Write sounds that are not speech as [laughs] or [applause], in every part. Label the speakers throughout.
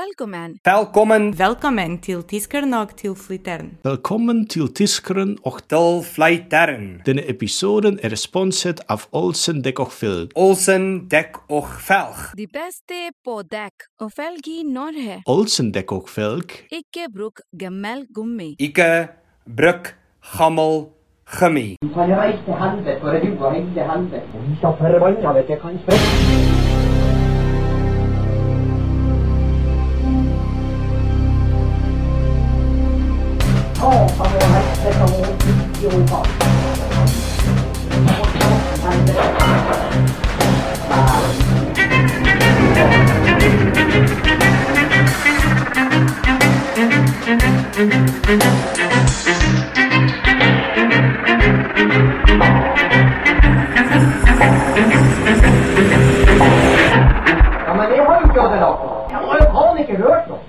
Speaker 1: Velkommen.
Speaker 2: Velkommen
Speaker 3: Velkommen til Tiskeren og til Flytteren.
Speaker 4: Velkommen til Tiskeren og
Speaker 2: til Flyteren.
Speaker 4: denne episoden er sponset av Olsen Dekkogfeld.
Speaker 2: Olsen dek og velg.
Speaker 1: De beste på dekk og felg i Norge.
Speaker 4: Olsen Dekkogfeld
Speaker 1: Ikke bruk gammel gummi.
Speaker 2: Ikke bruk gammel gummi.
Speaker 5: Du kan reise til helvete, for du har reist til helvete. Vi skal forbanna vet du, kanskje. Ja, men jeg har jo ikke hatt det nok. Jeg har jo faen ikke hørt noe.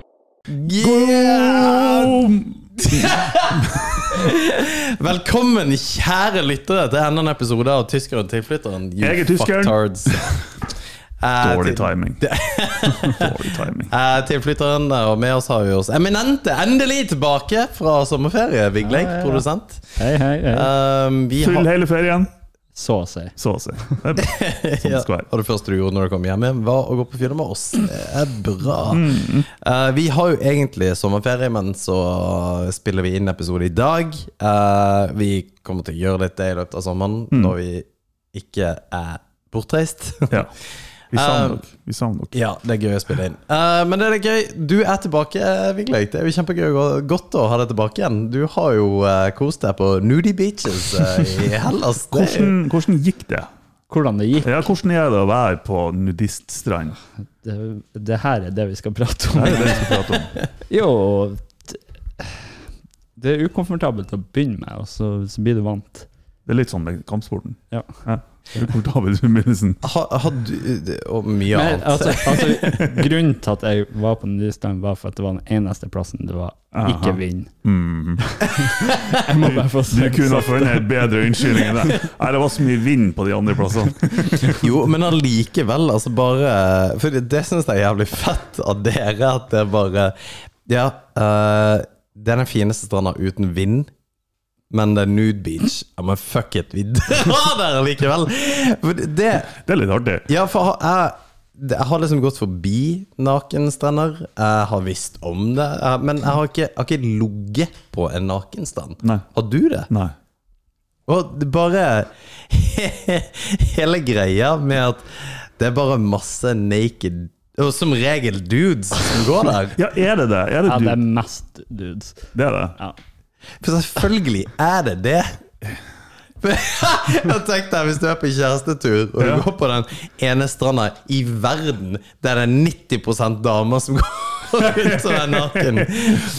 Speaker 6: Yeah! Velkommen, kjære lyttere, til enda en episode av Tyskeren og tilflytteren. You
Speaker 7: Jeg er tyskeren. [laughs]
Speaker 6: fucktards. Eh,
Speaker 7: Dårlig
Speaker 6: til-
Speaker 7: timing. Dårlig [laughs] timing.
Speaker 6: eh, tilflytteren, og med oss har vi oss eminente endelig tilbake fra sommerferie. Vigleik, produsent.
Speaker 8: Hei, hei, hei.
Speaker 6: Um, vi
Speaker 7: Full
Speaker 6: har,
Speaker 7: hele ferien,
Speaker 8: Så å si.
Speaker 7: så å si. Det er bra. Sånn
Speaker 6: ja,
Speaker 7: det skal være.
Speaker 6: og det første du gjorde når du kom hjem, igjen, var å gå på fjellet med oss. Det er bra.
Speaker 8: Mm.
Speaker 6: Eh, vi har jo egentlig sommerferie, men så spiller vi inn episode i dag. Eh, vi kommer til å gjøre litt det i løpet av sommeren,
Speaker 8: Mm.
Speaker 6: når vi ikke er bortreist. [laughs]
Speaker 7: Ja. Vi savner
Speaker 6: Um,
Speaker 7: dere. Vi savner dere.
Speaker 6: Ja, det er gøy å spille inn. Eh, men det er gøy. Du er tilbake, eh, Vigleik. Det er jo kjempegøy og godt å ha deg tilbake igjen. Du har jo eh, kost deg på Nudie Beaches eh, i
Speaker 8: [laughs]
Speaker 6: Hellas. Det er jo-
Speaker 7: Hvordan, hvordan gikk det?
Speaker 8: Hvordan det gikk?
Speaker 7: Ja, hvordan er det å være på nudiststrand?
Speaker 8: Det, det her er det vi skal prate om.
Speaker 7: Det er jo det vi skal prate om.
Speaker 8: Jo t- Det er ukomfortabelt å begynne med, og så, så blir du vant.
Speaker 7: Det er litt sånn med kampsporten.
Speaker 8: Ja.
Speaker 7: Ukomfortabel i begynnelsen.
Speaker 6: Har, har du det- Og mye
Speaker 8: Men,
Speaker 6: annet.
Speaker 8: altså, altså, grunnen til at jeg var på nudistland, var for at det var den eneste plassen det var ikke vind.
Speaker 7: Mm.
Speaker 8: [laughs] Jeg må bare få
Speaker 7: Du
Speaker 8: sagt
Speaker 7: kunne ha
Speaker 8: sånn.
Speaker 7: funnet en bedre unnskyldning enn det. Nei, det var så mye vind på de andre plassene.
Speaker 6: Jo, men allikevel, altså bare For det, det syns jeg er jævlig fett av dere, at det er bare Ja, eh, det er den fineste stranda uten vind. Men det er nude beach. Ja, Men fuck it, vi [laughs] drar der likevel! For det- det,
Speaker 7: Det er litt artig.
Speaker 6: Ja, for ha- jeg, det- jeg har liksom gått forbi nakenstrender. Jeg har visst om det. eh, Men jeg har ikke, jeg har ikke ligget på en nakenstrand.
Speaker 7: Nei.
Speaker 6: Har du det?
Speaker 7: Nei.
Speaker 6: Og det bare [laughs] Hele greia med at det er bare masse naked Og som regel dudes som går der.
Speaker 7: Ja, er det det? Er det
Speaker 8: Ja, det er
Speaker 7: du?
Speaker 8: mest dudes.
Speaker 7: Det er det.
Speaker 6: For selvfølgelig er det det. [laughs] Jeg tenkte Hvis du er på kjærestetur og du
Speaker 7: Ja.
Speaker 6: går på den ene stranda i verden der det er 90 damer som [laughs] går rundt og er naken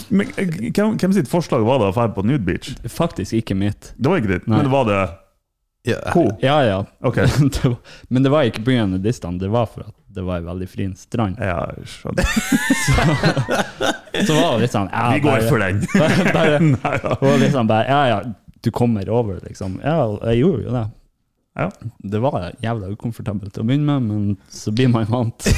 Speaker 7: Men eh, hvem, hvem sitt forslag var det å dra på nude beach?
Speaker 8: Faktisk ikke mitt.
Speaker 7: Det var ikke ditt, men var det
Speaker 6: ja,
Speaker 7: Ko?
Speaker 8: Ja, ja.
Speaker 7: Ok.
Speaker 8: [laughs] Det var, men det var ikke pga. nudistene, det var for at det var en veldig fin strand.
Speaker 7: Ja, jeg skjønner.
Speaker 8: Så var det litt sånn ja,
Speaker 7: Vi går
Speaker 8: bare-
Speaker 7: for den.
Speaker 8: bare, bare,
Speaker 7: [laughs] Nei da.
Speaker 8: Og liksom bare Ja, ja, du kommer over, liksom. Ja, og jeg gjorde jo det.
Speaker 7: Ja.
Speaker 8: Det var jævla ukomfortabelt å begynne med, men så blir man vant.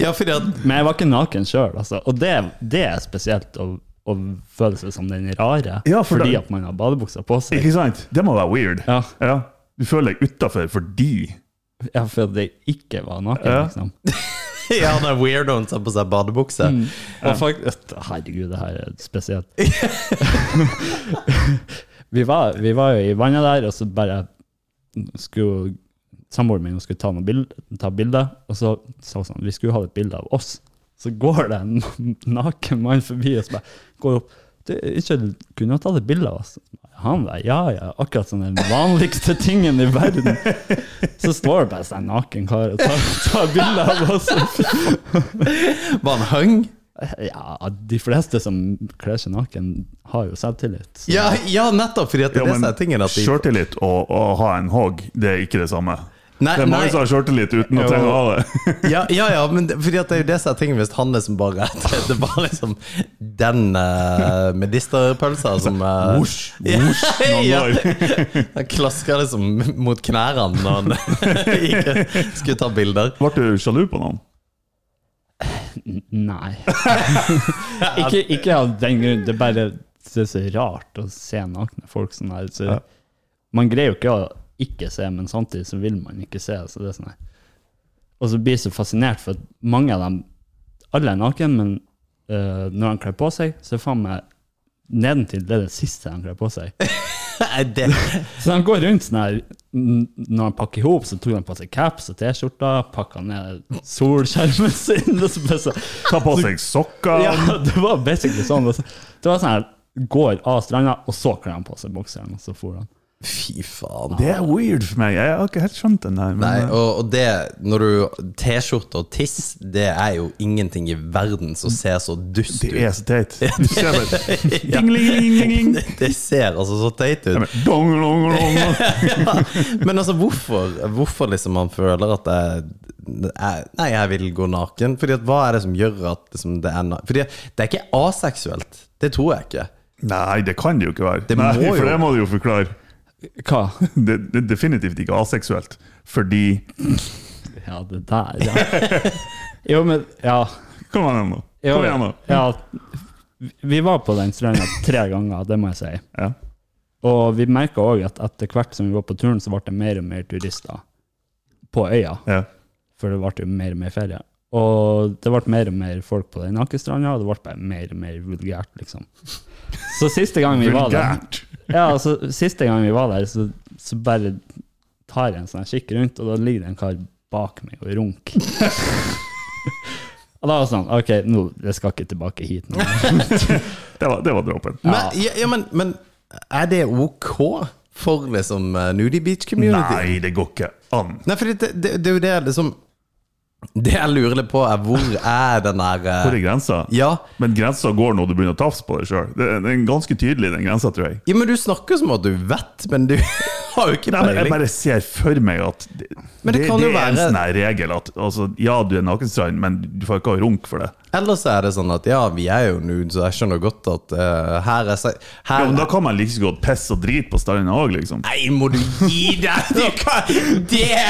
Speaker 6: ja, fordi at
Speaker 8: Men jeg var ikke naken sjøl, altså. Og det, det er spesielt å, å føle seg som den rare,
Speaker 7: Ja, for
Speaker 8: fordi
Speaker 7: det-
Speaker 8: at man har badebuksa på seg.
Speaker 7: Ikke sant? Det må være weird.
Speaker 8: Ja,
Speaker 7: Ja. Du føler deg utafor fordi
Speaker 8: ja, for at jeg ikke var naken,
Speaker 7: Ja.
Speaker 8: liksom.
Speaker 6: Ja, den er weirdoen som har på seg badebukse.
Speaker 7: Mm.
Speaker 8: Og folk, herregud, det her er spesielt. vi, var, vi var jo i vannet der, og så bare skulle samboeren min skulle ta, noen bild, ta bilder, og så sa hun sånn, vi skulle ha et bilde av oss. Så går det en [laughs] naken mann forbi og så bare går opp. Du, ikke kunne du ta et bilde av oss? Han bare, ja, ja, akkurat som den vanligste tingen i verden. Så står det bare sånn en naken kar og tar, tar bilde av oss.
Speaker 6: Var han hung?
Speaker 8: Ja, de fleste som kler seg naken, har jo selvtillit. Så
Speaker 6: Ja, ja, nettopp! Fordi at det
Speaker 7: ja,
Speaker 6: er det som er tingen. At de,
Speaker 7: Sjøltillit og å ha en hogg, det er ikke det samme.
Speaker 6: Nei,
Speaker 7: det er mange
Speaker 6: nei.
Speaker 7: som har sjøltillit uten å
Speaker 6: Jo.
Speaker 7: trenge å ha det.
Speaker 6: ja, ja, ja, men det, fordi at det er jo det som er tingen hvis han liksom bare [laughs] Det er bare liksom den uh, medisterpølsa som uh,
Speaker 7: Vosj,
Speaker 6: [laughs] [laughs]
Speaker 7: vosj,
Speaker 6: Ja,
Speaker 7: noen
Speaker 6: ja.
Speaker 7: år.
Speaker 6: Han klaska liksom mot knærne [laughs] når han gikk, skulle ta bilder.
Speaker 7: Ble du sjalu på noen?
Speaker 8: N- Nei. [laughs] ikke, ikke av den grunn. Det er bare det er så rart å se nakne folk sånn her. Så Man greier jo ikke å ikke se, men samtidig så vil man ikke se. Så det er sånn her. Og så blir jeg så fascinert, for at mange av dem Alle er naken, men eh, når de kler på seg, så er faen meg nedentil det er det siste de kler på seg.
Speaker 6: Nei, det,
Speaker 8: Så de går rundt sånn her n- Når de pakker ihop, så tok de på seg caps og T-skjorta, pakka ned solskjermen sin og så ble så, [laughs]
Speaker 7: Ta på seg sokker.
Speaker 8: ja, Det var basically sånn. Og så- Det var sånn her Går av stranda, og så kler de på seg bokseren, og så for han.
Speaker 6: fy faen.
Speaker 7: Det er weird for meg. Jeg har ikke helt skjønt den der. men- eh,
Speaker 6: Nei, og, og det Når du T-skjorte og tiss, det er jo ingenting i verden som ser så dust
Speaker 7: det er
Speaker 6: ut.
Speaker 7: så teit. Du ser bare
Speaker 6: [laughs] Ja.
Speaker 7: Ding-ling-ling-ling.
Speaker 6: [laughs] Det ser altså så teit ut. [laughs] Men altså, hvorfor, hvorfor liksom man føler at det det er, Nei, jeg vil gå naken. Fordi at hva er det som gjør at liksom, det er na- Fordi at det er ikke aseksuelt. Det tror jeg ikke.
Speaker 7: Nei, det kan det jo ikke være.
Speaker 6: Det
Speaker 7: Nei,
Speaker 6: må jo-
Speaker 7: For det må du jo forklare.
Speaker 8: Hva?
Speaker 7: Det, det er definitivt ikke aseksuelt. Fordi
Speaker 8: Ja, det der, ja. Jo, men Ja.
Speaker 7: Kom igjen nå.
Speaker 8: Jo,
Speaker 7: Kom igjen nå.
Speaker 8: ja. Vi var på den stranda tre ganger, det må jeg si.
Speaker 7: Ja.
Speaker 8: Og vi merka òg at etter hvert som vi var på turen, så ble det mer og mer turister på øya.
Speaker 7: Ja.
Speaker 8: For det ble jo mer og mer ferie. Og det ble mer og mer folk på den nakestranda, og det ble bare mer og mer vulgært, liksom. Så siste gang vi var der,
Speaker 7: Vulgært.
Speaker 8: ja, altså, siste gang vi var der så, så bare tar jeg en sånn kikk rundt, og da ligger det en kar bak meg og runker. og da var det sånn OK, nå, jeg skal ikke tilbake hit nå.
Speaker 7: Det var, det var dråpen.
Speaker 6: Men, ja, ja, men, men er det ok for liksom eh, nudie beach community?
Speaker 7: Nei, det går ikke an.
Speaker 6: Nei, fordi det, det, det er jo det liksom Det jeg lurer litt på, er hvor er den der eh,
Speaker 7: Hvor er grensa?
Speaker 6: ja,
Speaker 7: Men grensa går når du begynner å tafse på deg sjøl. Det er det er ganske tydelig, den grensa, tror jeg.
Speaker 6: ja, men du snakker som at du vet, men du [laughs] har jo ikke
Speaker 7: Nei, men jeg
Speaker 6: peiling.
Speaker 7: bare ser for meg at det,
Speaker 6: Men det
Speaker 7: det,
Speaker 6: kan
Speaker 7: det
Speaker 6: jo
Speaker 7: er en
Speaker 6: være-
Speaker 7: sånn her regel at altså, ja, du er nakenstrand, men du får ikke ha runk for det.
Speaker 6: Ellers er det sånn at ja, vi er jo nude, så jeg skjønner godt at eh, her er seg...
Speaker 7: Ja,
Speaker 6: Her,
Speaker 7: men da kan man like så godt pisse og drite på stranda òg, liksom.
Speaker 6: Nei, må du gi deg! Du kan Det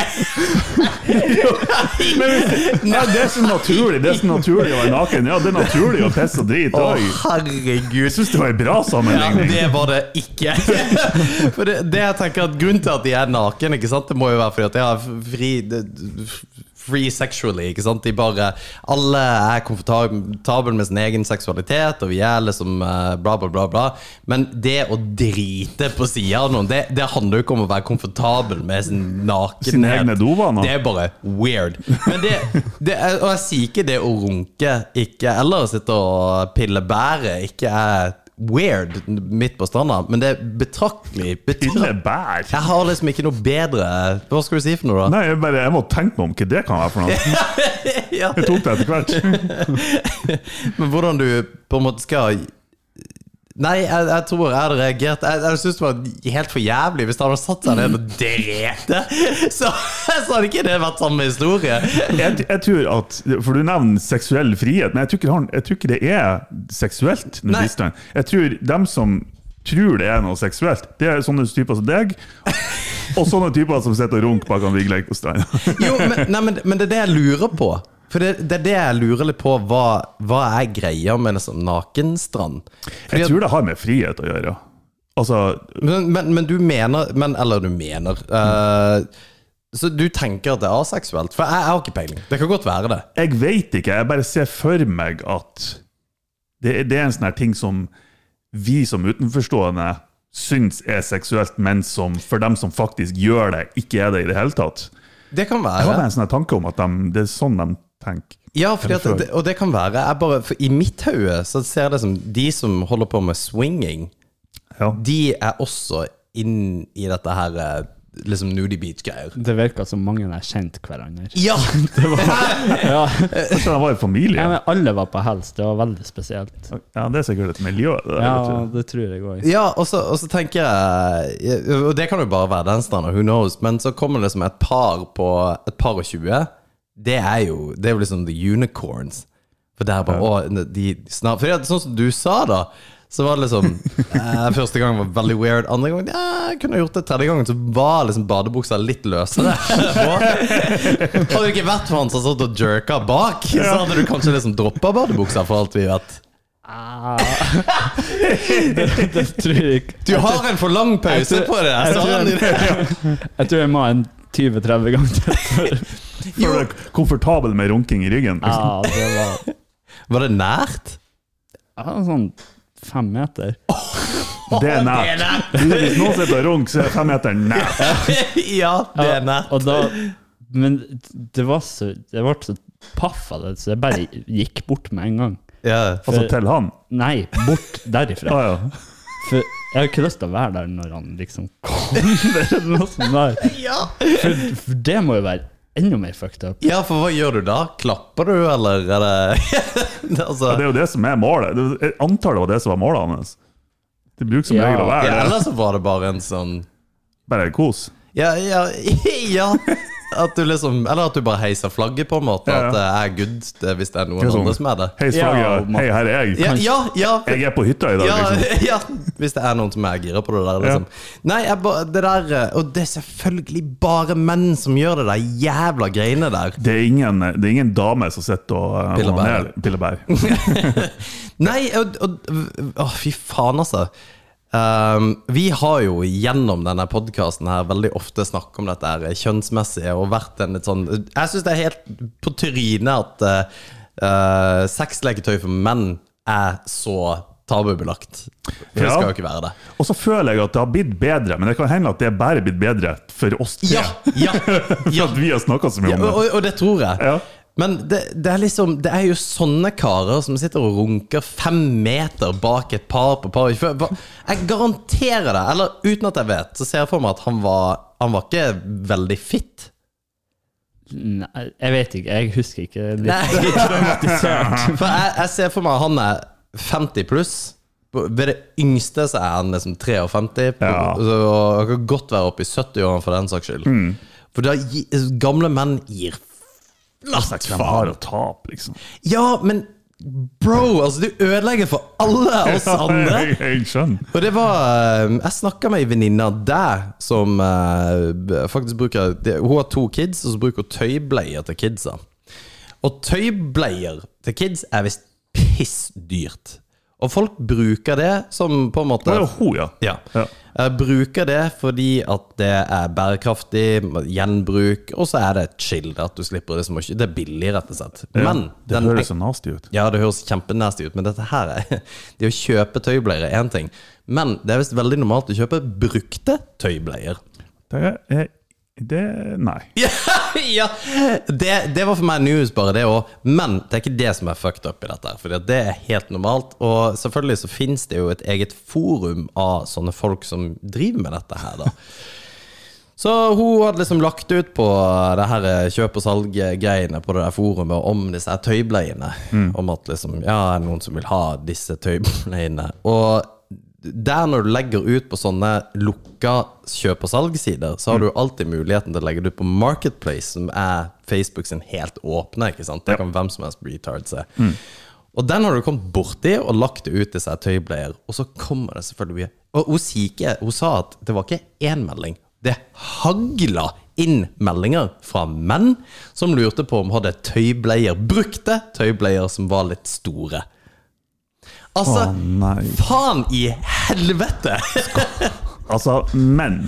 Speaker 7: [laughs] Nei, det er så naturlig Det er så naturlig å være naken. Ja, det er naturlig å pisse og drite
Speaker 6: Å,
Speaker 7: òg. Jeg
Speaker 6: herregud.
Speaker 7: syns det var en bra
Speaker 6: Ja,
Speaker 7: sammenligning.
Speaker 6: det var det ikke. [laughs] For det, det jeg tenker at Grunnen til at de er naken, ikke sant? det må jo være fordi at de har fri det- Free sexually, ikke sant? De bare Alle er komfortable med sin egen seksualitet, og vi er liksom eh, bla, bla, bla. bla Men det å drite på sida av noen, det, det handler jo ikke om å være komfortabel med sin nakenhet.
Speaker 7: Sine egne dovaner.
Speaker 6: Det er bare weird. Men det, det er, og jeg sier ikke det å runke ikke, eller å sitte og pille bæret ikke er weird midt på stranda, men det er betraktelig
Speaker 7: Pille
Speaker 6: betraktelig.
Speaker 7: bær.
Speaker 6: Jeg har liksom ikke noe bedre Hva skal du si for noe, da?
Speaker 7: Nei, jeg, bare, jeg må tenke meg om hva det kan være for noe.
Speaker 6: [laughs] Ja,
Speaker 7: Jeg tok det etter hvert.
Speaker 6: men hvordan du på en måte skal Nei, jeg, jeg tror jeg hadde reagert Jeg, jeg syns det var helt for jævlig hvis han hadde satt seg ned og drete. [laughs] Så, så hadde ikke det vært samme historie.
Speaker 7: Jeg, jeg tror at, For du nevner seksuell frihet, men jeg tror ikke, han, jeg tror ikke det er seksuelt. nudistene. Jeg tror dem som tror det er noe seksuelt, det er sånne typer som deg, og sånne typer som sitter og runker bak en Vigleik på stranda.
Speaker 6: Jo, men, nei, men, men det er det jeg lurer på. For det, det er det jeg lurer litt på. Hva, hva er greia med liksom nakenstrand? Fordi
Speaker 7: Jeg
Speaker 6: at-
Speaker 7: tror det har med frihet å gjøre. Altså,
Speaker 6: men, men, men du mener men, Eller du mener eh, Så du tenker at det er aseksuelt? For jeg, jeg har ikke peiling. Det kan godt være det.
Speaker 7: jeg veit ikke, jeg bare ser for meg at det, er- det er en sånn her ting som vi som utenforstående syns er seksuelt, men som for dem som faktisk gjør det, ikke er det i det hele tatt.
Speaker 6: Det kan
Speaker 7: Jeg hadde
Speaker 6: være.
Speaker 7: en sånn her tanke om at de, det er sånn de tenker.
Speaker 6: Ja, fordi at, det, og det kan være. Jeg bare, for I mitt hode så ser jeg det som de som holder på med swinging,
Speaker 7: Ja.
Speaker 6: de er også inn i dette her eh, liksom nudie beach-greier.
Speaker 8: Det virka som mange der kjente hverandre.
Speaker 6: Ja!
Speaker 8: Ja.
Speaker 7: Kanskje sånn de var i familie?
Speaker 8: Ja, men alle var på helst, det var veldig spesielt.
Speaker 7: Ja, det er sikkert et miljø. Det der,
Speaker 8: Ja,
Speaker 7: vet du.
Speaker 8: det tror jeg òg.
Speaker 6: Ja, og så, og så tenker jeg Og det kan jo bare være den stranda, who knows. Men så kommer det som et par på et par og 20. Det er jo det er jo liksom the unicorns. For det er bare å, de snart, For det er sånn som du sa, da, Så var det liksom
Speaker 8: [laughs]
Speaker 6: eh, Første gang var veldig weird. Andre gang ja, jeg kunne gjort det. Tredje gangen så var liksom badebuksa litt
Speaker 8: [laughs]
Speaker 6: løsere. på. hadde du ikke vært for han som satt og jerka bak, så hadde du kanskje liksom droppa badebuksa, for alt vi vet.
Speaker 8: Ah. [laughs] det, det tror jeg ikke.
Speaker 6: Du har en for lang pause
Speaker 8: Jeg tror-
Speaker 6: på det!
Speaker 8: jeg
Speaker 6: Så
Speaker 8: tror- [laughs]
Speaker 6: han,
Speaker 8: Jeg tror jeg må ha en 20-30 ganger til. [laughs] før-
Speaker 7: For å være komfortabel med runking i ryggen. Liksom.
Speaker 8: Ah, det var
Speaker 6: var det nært?
Speaker 8: ah, sånn fem meter.
Speaker 7: Det er nært. Du, Hvis noen sitter og runker, så er femmeteren nært.
Speaker 6: [laughs] ja, det er nært.
Speaker 8: Og da, men det var så Jeg ble så paff av det, så jeg bare gikk bort med en gang.
Speaker 6: Ja.
Speaker 7: Altså til han.
Speaker 8: Nei, bort derifra.
Speaker 7: Ah, ja.
Speaker 8: For jeg har ikke lyst til å være der når han liksom kommer. eller noe sånt der. For, for det må jo være enda mer fucked up.
Speaker 6: ja, for hva gjør du da? Klapper du, eller er det [laughs] altså,
Speaker 7: Det er jo det som er målet. Det- Jeg antar det var det som var målet hans. Det bruker som
Speaker 8: Ja.
Speaker 7: regel å
Speaker 6: ja,
Speaker 7: være det.
Speaker 6: Eller så var det bare en sånn
Speaker 7: Bare kos.
Speaker 6: Ja, ja, [laughs] ja. At du liksom, eller at du bare heiser flagget, på en måte.
Speaker 7: Ja, ja.
Speaker 6: At det er good det, hvis det er noen
Speaker 7: Det er sånn.
Speaker 6: andre som er det.
Speaker 7: Hei,
Speaker 8: Ja,
Speaker 7: Svager.
Speaker 8: man-
Speaker 7: Hei, her er
Speaker 6: Ja,
Speaker 7: jeg.
Speaker 6: ja, ja,
Speaker 7: Jeg er på hytta i dag,
Speaker 6: ja,
Speaker 7: liksom.
Speaker 6: [laughs] ja. Hvis det er noen som er gira på det der. Liksom. Nei, jeg, ba- det der eh, Og det er selvfølgelig bare menn som gjør det der jævla greiene der.
Speaker 7: Det er ingen, det er ingen dame som sitter og
Speaker 6: Piller bær.
Speaker 7: onanerer. Piller bær.
Speaker 6: Nei, og, og å, fy faen, altså. Um, vi har jo gjennom denne podkasten her veldig ofte snakket om dette her eh, kjønnsmessige og vært en litt sånn Jeg syns det er helt på trynet at uh, uh, sexleketøy for menn er så tabubelagt. For det
Speaker 7: Ja.
Speaker 6: skal jo ikke være det.
Speaker 7: Og så føler jeg at det har blitt bedre, men det kan hende at det er bare blitt bedre for oss tre.
Speaker 6: Ja! Ja!
Speaker 7: [laughs] For
Speaker 6: ja.
Speaker 7: at vi har snakka så mye
Speaker 6: Ja,
Speaker 7: om det.
Speaker 6: og, og det tror jeg.
Speaker 7: Ja.
Speaker 6: Men det, det, er liksom, det er jo sånne karer som sitter og runker fem meter bak et par på par. For- for- Jeg garanterer det, eller uten at jeg vet, så ser jeg for meg at han var, han var ikke veldig fit.
Speaker 8: Nei, jeg vet ikke. Jeg husker ikke. Litt.
Speaker 6: Nei. [laughs] For jeg, jeg ser for meg at han er 50 pluss. På- Ved det yngste så er han liksom 53, på,
Speaker 7: Ja.
Speaker 6: så han kan godt være oppe i 70-årene for den saks skyld. For da, gi- gamle menn gir flatt
Speaker 7: Far og tap, liksom.
Speaker 6: Ja, men bro, altså du ødelegger for
Speaker 7: [laughs]
Speaker 6: alle oss andre.
Speaker 7: jeg, jeg skjønner.
Speaker 6: Og det var eh, Jeg snakka med ei venninne av deg som eh, b- faktisk bruker det- Hun har to kids, og så bruker hun tøybleier til kidsa. Og tøybleier til kids er visst pissdyrt. Og folk bruker det som på en måte
Speaker 7: Det var jo hun, ja.
Speaker 6: ja. Jeg bruker det fordi at det er bærekraftig, gjenbruk, og så er det chill. At du slipper liksom å kjø- Det er billig, rett og slett. Men
Speaker 7: Det
Speaker 6: den
Speaker 7: høres så nasty ut.
Speaker 6: ja, det høres kjempenasty ut, men dette her er [laughs] Det å kjøpe tøybleier er én ting, men det er visst veldig normalt å kjøpe brukte tøybleier.
Speaker 7: Det er det, Nei.
Speaker 6: [laughs] ja! Det, det var for meg news, bare det òg, men det er ikke det som er fucked up i dette. her, For det er helt normalt, og selvfølgelig så fins det jo et eget forum av sånne folk som driver med dette her, da. Så hun hadde liksom lagt ut på det her eh, kjøp og salg-greiene på det der forumet om disse her tøybleiene. Om at liksom, ja, er det noen som vil ha disse tøybleiene? Og der når du legger ut på sånne lukka kjøp og salg-sider, så har du alltid muligheten til å legge det ut på Marketplace, som er Facebook sin helt åpne. ikke sant? Der kan hvem som helst retard se. Og den har du kommet borti og lagt det ut til seg tøybleier, og så kommer det selvfølgelig Og hun, sier ikke- hun sa at det var ikke én melding. Det hagla inn meldinger fra menn som lurte på om hun hadde tøybleier brukte tøybleier som var litt store. Altså,
Speaker 7: Å, nei.
Speaker 6: faen i helvete!
Speaker 7: Altså, men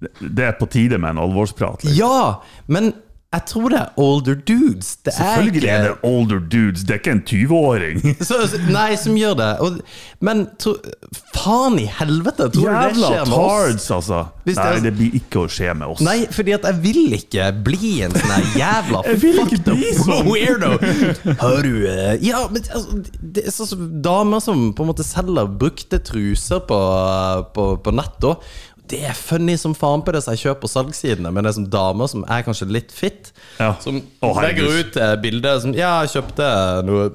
Speaker 7: Det er på tide med en alvorsprat. Liksom.
Speaker 6: ja, men jeg tror det er older dudes. Det er
Speaker 7: Selvfølgelig
Speaker 6: ikke
Speaker 7: er det older dudes, det er ikke en 20-åring.
Speaker 6: så, så- nei, som gjør det. Og, men tro, faen i helvete, tror du det
Speaker 7: Jævla
Speaker 6: skjer med oss?
Speaker 7: tards, altså.
Speaker 6: Hvis det
Speaker 7: Nei,
Speaker 6: er-
Speaker 7: det blir ikke å skje med oss.
Speaker 6: Nei, fordi at jeg vil ikke bli en sånn her jævla
Speaker 7: [laughs] Jeg vil ikke
Speaker 6: fucked up
Speaker 7: bli sånn.
Speaker 6: [laughs] weirdo. Har du eh, Ja, men altså, det er sånn som damer som på en måte selger brukte truser på, eh, på, på nett òg. Det er funny som faen på det som jeg kjøper på salgssidene, men det er som damer som er kanskje litt fit,
Speaker 7: Ja.
Speaker 6: som
Speaker 7: Å, herregud.
Speaker 6: legger ut eh, bilder som Ja, jeg kjøpte noe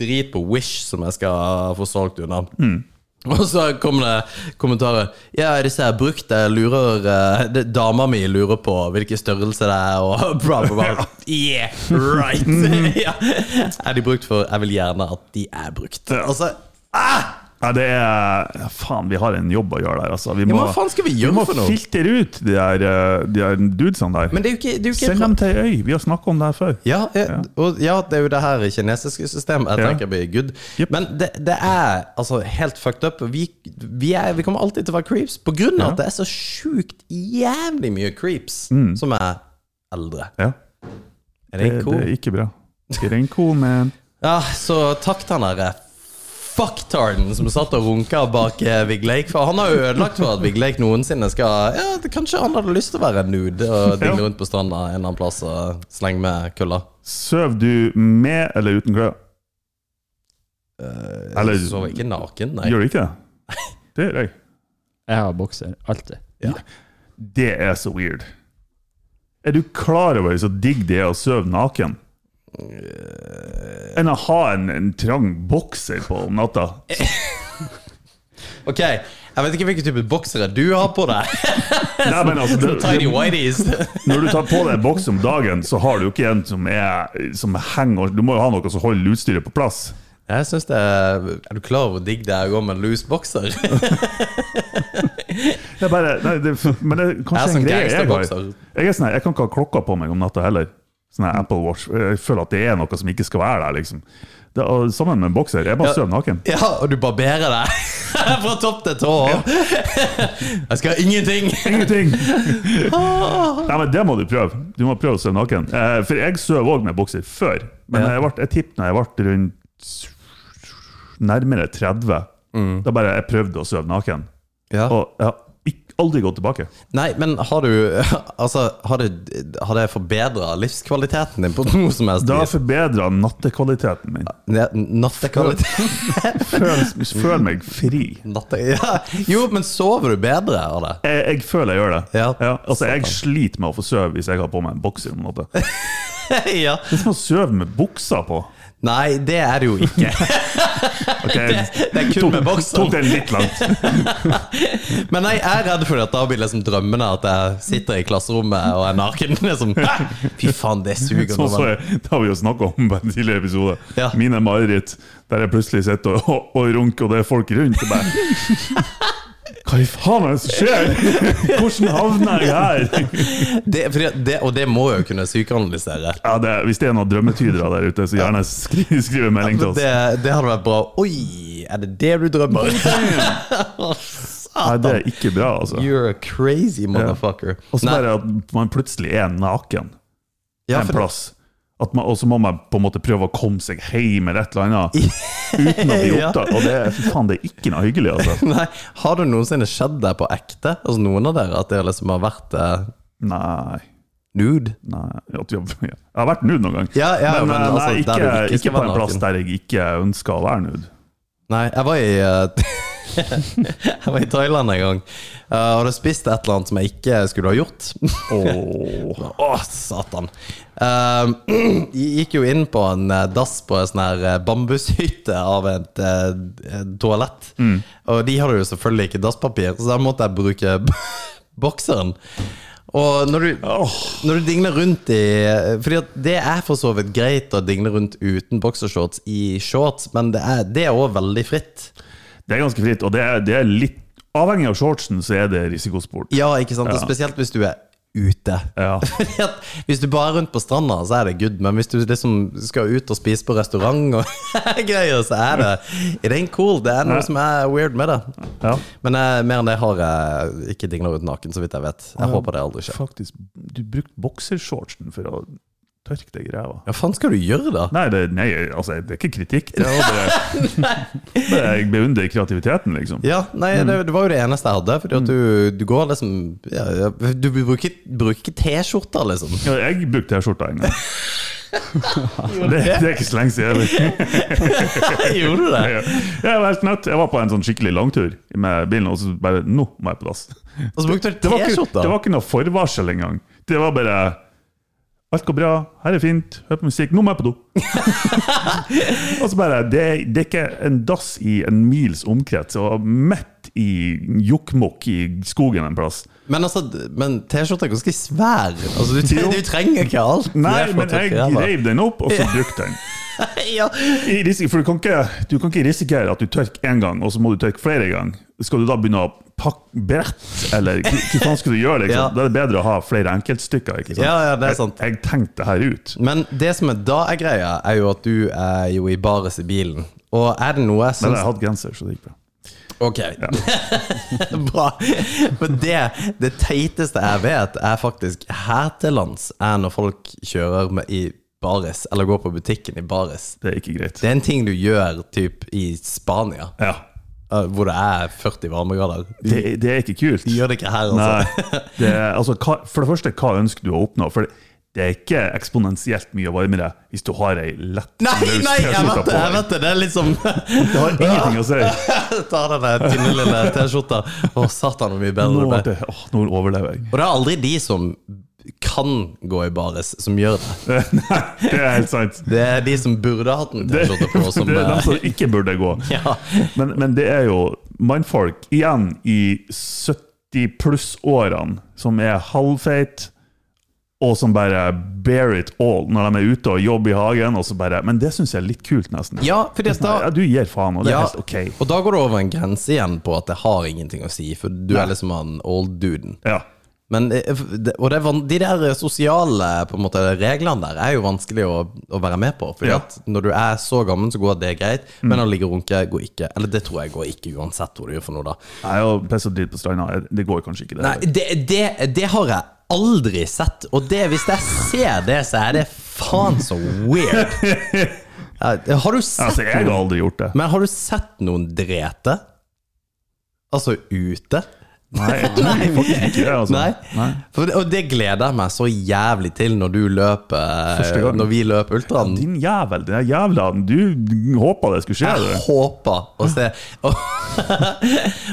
Speaker 6: drit på Wish som jeg skal få solgt unna. [laughs] Og så kommer det kommentarer. Ja, disse her brukte lurer eh, det, Dama mi lurer på hvilken størrelse det er, og [laughs] bla, bla, bla. Yeah,
Speaker 7: [laughs] Mhm.
Speaker 6: [laughs] right! ja. Er de brukt for Jeg vil gjerne at de er brukt. Altså, ah!
Speaker 7: Ja, det er Faen, vi har en jobb å gjøre der, altså. Vi
Speaker 6: Ja,
Speaker 7: må,
Speaker 6: men hva faen skal vi
Speaker 7: vi
Speaker 6: gjøre
Speaker 7: må
Speaker 6: for noe?
Speaker 7: filtre ut de der, eh, de der dudesene der.
Speaker 6: Men det er jo ikke, det er jo ikke
Speaker 7: Send dem til ei øy. Vi har snakka om det her før.
Speaker 6: Ja, eh, og ja, det er jo det her kinesiske systemet. Jeg
Speaker 7: Ja.
Speaker 6: tenker blir good.
Speaker 7: Jep.
Speaker 6: Men det, det er altså helt fucked up. Vi, vi, er, vi kommer alltid til å være creeps på grunn av at det er så sjukt jævlig mye creeps som er eldre.
Speaker 7: Ja,
Speaker 6: Er
Speaker 7: Mm. det,
Speaker 6: det cool?
Speaker 7: det er ikke bra. Get in cool, man.
Speaker 6: Ja, så takk til han derre fucktarden som satt og runka bak eh, Vig Lake. For han har jo ødelagt for at Vig Lake noensinne skal Ja, det, kanskje han hadde lyst til å være nude og dingle
Speaker 7: Ja.
Speaker 6: rundt på stranda en eller annen plass og slenge med kølla.
Speaker 7: Søv du med eller uten klær? Eller-
Speaker 6: Eh, Så ikke naken, nei.
Speaker 7: Gjør du ikke det? Det gjør jeg.
Speaker 8: Jeg har bokser, alltid.
Speaker 7: Det er så weird. Er du klar over så digg det er å sove naken? Enn å ha en, en trang bokser på om
Speaker 6: [laughs]
Speaker 7: natta.
Speaker 6: Ok, jeg vet ikke hvilken type boksere du har på deg.
Speaker 7: Nei, men altså, [laughs] det,
Speaker 6: [laughs] Tiny whiteys.
Speaker 7: [laughs] når du tar på deg en boks om dagen, så har du jo ikke en som, er, som henger Du må jo ha noe som holder utstyret på plass.
Speaker 6: Jeg synes det Er Er du klar over hvor digg det er å gå med en loose bokser? [laughs] Jeg
Speaker 7: Det er bare, nei, det, men det er
Speaker 6: er
Speaker 7: kanskje en
Speaker 6: sånn
Speaker 7: greie jeg har.
Speaker 6: gangsterbokser.
Speaker 7: Jeg, er sånn, her, jeg kan ikke ha klokka på meg om natta heller. Sånn her Apple Watch. Jeg føler at det er noe som ikke skal være der. liksom. Det, og sammen med en bokser. Jeg bare
Speaker 6: Ja.
Speaker 7: sover naken.
Speaker 6: Ja, og du barberer deg [laughs] fra topp til tå. [laughs] Jeg skal ha ingenting. [laughs]
Speaker 7: Ingenting! Nei, men Det må du prøve. Du må prøve å sove naken. Eh, for jeg sov òg med bokser før. Men
Speaker 6: Ja.
Speaker 7: jeg, ble, jeg tippet når jeg ble rundt nærmere 30. Da bare jeg prøvde å sove naken.
Speaker 6: Ja.
Speaker 7: Og jeg har ikk- aldri gått tilbake.
Speaker 6: Nei, men har du [laughs] Altså, har, du, har det forbedra livskvaliteten din på noe som helst
Speaker 7: Det har
Speaker 6: vis?
Speaker 7: forbedra nattekvaliteten min.
Speaker 6: Ja, Nattekvalitet
Speaker 7: [laughs]
Speaker 6: [laughs]
Speaker 7: Føl, føl meg fri.
Speaker 6: Natte, ja. Jo, men sover du bedre av det?
Speaker 7: Jeg, jeg føler jeg gjør det.
Speaker 6: Ja.
Speaker 7: altså, jeg sliter med å få sove hvis jeg har på meg en bokser. på en måte. Det
Speaker 6: [laughs] Ja.
Speaker 7: er som å sove med buksa på.
Speaker 6: Nei, det er det jo
Speaker 7: [laughs]
Speaker 6: ikke.
Speaker 7: Ok,
Speaker 6: [laughs] Det er kun med bokser.
Speaker 7: Tok det litt langt.
Speaker 6: Men nei, jeg er redd for at da blir liksom drømmene at jeg sitter i klasserommet og er naken. [laughs] Liksom. Hæ? Fy faen, det suger.
Speaker 7: Sånn
Speaker 6: når
Speaker 7: [laughs] så
Speaker 6: man-
Speaker 7: jeg, det har vi jo snakka om på en tidligere episode.
Speaker 6: Ja.
Speaker 7: Mine mareritt der jeg plutselig sitter og, og, og runker, og det er folk rundt. Og bare Hva i faen er det som skjer?! Hvordan havna jeg her?!
Speaker 6: Det, fordi det, og det må jeg jo kunne psykoanalysere.
Speaker 7: Ja, det, er- hvis det er noen drømmetydere der ute, så gjerne skri, skriv en melding til oss.
Speaker 6: Det, det hadde vært bra. Oi, er det det du drømmer?
Speaker 7: [laughs] Nei, det er ikke bra, altså.
Speaker 6: You're a crazy motherfucker.
Speaker 7: Og så
Speaker 6: Nei,
Speaker 7: bare at man plutselig er naken
Speaker 6: ja,
Speaker 7: en
Speaker 6: for,
Speaker 7: plass. At man, og så må man på en måte prøve å komme seg hjem eller et eller
Speaker 6: [laughs]
Speaker 7: annet uten å bli
Speaker 6: Ja.
Speaker 7: opptatt. Og det, er- fy faen, det er ikke noe hyggelig, altså.
Speaker 6: [laughs] nei, har du noensinne skjedd deg på ekte? Altså Noen av dere at dere liksom har vært eh,
Speaker 7: Nei.
Speaker 6: nude?
Speaker 7: Nei, at jeg, jeg har [laughs] vært nude noen gang.
Speaker 6: Ja, ja,
Speaker 7: men,
Speaker 6: men
Speaker 7: eh,
Speaker 6: altså, der
Speaker 7: nei, ikke,
Speaker 6: du ikke
Speaker 7: ikke,
Speaker 6: skal
Speaker 7: på
Speaker 6: være
Speaker 7: en plass
Speaker 6: naken.
Speaker 7: der jeg ikke ønsker å være nude.
Speaker 6: Nei, jeg var i eh, [laughs] Jeg var i Thailand en gang, eh, og hadde spist et eller annet som jeg ikke skulle ha gjort. [laughs]
Speaker 7: Åh.
Speaker 6: Å, satan. Ehm, [clears throat] jeg gikk jo inn på en eh, dass på en sånn her eh, bambushytte av et eh, eh, toalett. Og de hadde jo selvfølgelig ikke dasspapir, så da måtte jeg bruke [laughs] bokseren. Og når du, når du dingler rundt i eh, Fordi at det er for så vidt greit å dingle rundt uten boksershorts i shorts, men det er, det er også veldig fritt.
Speaker 7: Det er ganske fritt, og det er, det er litt Avhengig av shortsen, så er det risikosport.
Speaker 6: Ja, ikke sant? Og spesielt hvis du er ute.
Speaker 7: Ja.
Speaker 6: [laughs] Fordi at hvis du bare er rundt på stranda, så er det good, men hvis du liksom skal ut og spise på restaurant og [laughs] greier, så er det It ain't cool. Det er noe som er weird med det.
Speaker 7: Ja.
Speaker 6: Men eh, mer enn det har jeg ikke dingla ut naken, så vidt jeg vet. Jeg håper det aldri skjer.
Speaker 7: Faktisk, du brukte boksershortsen for å tørke deg i ræva.
Speaker 6: Hva faen skal du gjøre da?
Speaker 7: Nei, det, nei, altså, det er ikke kritikk. Det er bare,
Speaker 6: [laughs]
Speaker 7: bare jeg beundrer kreativiteten, liksom.
Speaker 6: Ja, nei, det, det var jo det eneste jeg hadde. Fordi at
Speaker 7: Mm.
Speaker 6: du, du går liksom ja, ja, Du bruker, bruker ikke T-skjorter,
Speaker 7: [laughs]
Speaker 6: liksom.
Speaker 7: Ja, jeg brukte
Speaker 6: [laughs]
Speaker 7: T-skjorta en gang. Det, det er ikke så lenge siden. jeg-
Speaker 6: Gjorde du det?
Speaker 7: Ja. Jeg var helt nødt. Jeg var på en sånn skikkelig langtur med bilen, og så bare Nå må jeg på dass.
Speaker 6: Og så brukte du
Speaker 7: Det var, ikke,
Speaker 6: T-skjorter?
Speaker 7: det var ikke noe forvarsel engang. Det var bare Alt går bra, her er fint, hør på musikk, nå må jeg på do. [laughs] og så bare det, det er ikke en dass i en mils omkrets, og midt i jokkmokk i skogen en plass.
Speaker 6: Men altså, men T-skjorta er ganske svær. Altså, [laughs] du, tre-
Speaker 7: Jo.
Speaker 6: du trenger ikke alt.
Speaker 7: Nei,
Speaker 6: Det er for
Speaker 7: men
Speaker 6: å tørke
Speaker 7: jeg
Speaker 6: ræva.
Speaker 7: reiv den opp, og så brukte den.
Speaker 6: ja.
Speaker 7: I risiko, for du kan, ikke, du kan ikke risikere at du tørker én gang, og så må du tørke flere ganger. Skal du da begynne å pakke brett, eller hva hva faen skal du
Speaker 6: [laughs]
Speaker 7: gjøre? Liksom?
Speaker 6: Ja.
Speaker 7: Da er det bedre å ha flere enkeltstykker. Ikke sant?
Speaker 6: Ja, ja, det er sant. Sånn
Speaker 7: Jeg, jeg tenkte det her ut.
Speaker 6: Men det som er da er greia, er jo at du er jo i bares i bilen. Og er det noe jeg
Speaker 7: Men jeg
Speaker 6: syns
Speaker 7: hadde genser, så det gikk bra.
Speaker 6: Ok, [laughs] bra. Men det, det teiteste jeg vet, er faktisk her til lands, er når folk kjører med i bares, eller går på butikken i bares.
Speaker 7: Det er ikke greit.
Speaker 6: Det er en ting du gjør typ i Spania,
Speaker 7: Ja.
Speaker 6: eh, hvor det er 40 varmegrader. Du
Speaker 7: Det, det er ikke kult.
Speaker 6: gjør det ikke her, altså.
Speaker 7: Nei. Det, er- altså, hva, for det første, hva ønsker du å oppnå? For det, det er ikke eksponentielt mye varmere hvis du har ei lett
Speaker 6: [laughs] Nei, nei,
Speaker 7: løs
Speaker 6: jeg
Speaker 7: T-skjorte
Speaker 6: vet det! jeg
Speaker 7: på.
Speaker 6: vet Det det er liksom [laughs]
Speaker 7: Det har ingenting å si.
Speaker 6: Ta den tynne lille T-skjorta. Å, satan, hvor mye bedre
Speaker 7: Nå,
Speaker 6: det ble.
Speaker 7: ble det- åh, nå overlever jeg.
Speaker 6: Og det er aldri de som kan gå i bares, som gjør det.
Speaker 7: Nei, det er helt sant.
Speaker 6: Det er de som burde hatt en T-skjorte på, som
Speaker 7: det er dem
Speaker 6: eh,
Speaker 7: som ikke burde gå.
Speaker 6: [laughs] Ja.
Speaker 7: Men, men det er jo mannfolk, igjen i 70 pluss-årene, som er halvfeit, og som bare bear it all når de er ute og jobber i hagen. Og så bare, men det syns jeg er litt kult, nesten.
Speaker 6: Ja, fordi at da
Speaker 7: Ja, du gir faen, og det er
Speaker 6: ja,
Speaker 7: helt ok.
Speaker 6: Og da går det over en grense igjen på at det har ingenting å si, for du er liksom han old duden.
Speaker 7: Ja.
Speaker 6: Men, eh, f- det- og det er van, de der eh, sosiale på en måte, reglene der er jo vanskelig å, å være med på. Fordi
Speaker 7: Ja.
Speaker 6: at når du er så gammel, så går det greit, men å ligge og runke går ikke. Eller det tror jeg går ikke, uansett hva du gjør for noe, da.
Speaker 7: Jeg og piss og dritt på stranda, det går kanskje ikke, det.
Speaker 6: Nei, det, det, det har jeg aldri sett. Og det, hvis jeg ser det, så er det faen så weird. Ja, Har du sett
Speaker 7: Altså, jeg har aldri gjort det.
Speaker 6: Men har du sett noen drete? Altså ute?
Speaker 7: Nei,
Speaker 6: [laughs]
Speaker 7: jeg tror faktisk ikke det. Altså.
Speaker 6: Nei. For, og det gleder jeg meg så jævlig til når du
Speaker 7: Første
Speaker 6: løper
Speaker 7: gang.
Speaker 6: Når vi løper ultraen.
Speaker 7: Din jævel, den jævla Du håpa det skulle skje, du.
Speaker 6: Jeg håper å se Og,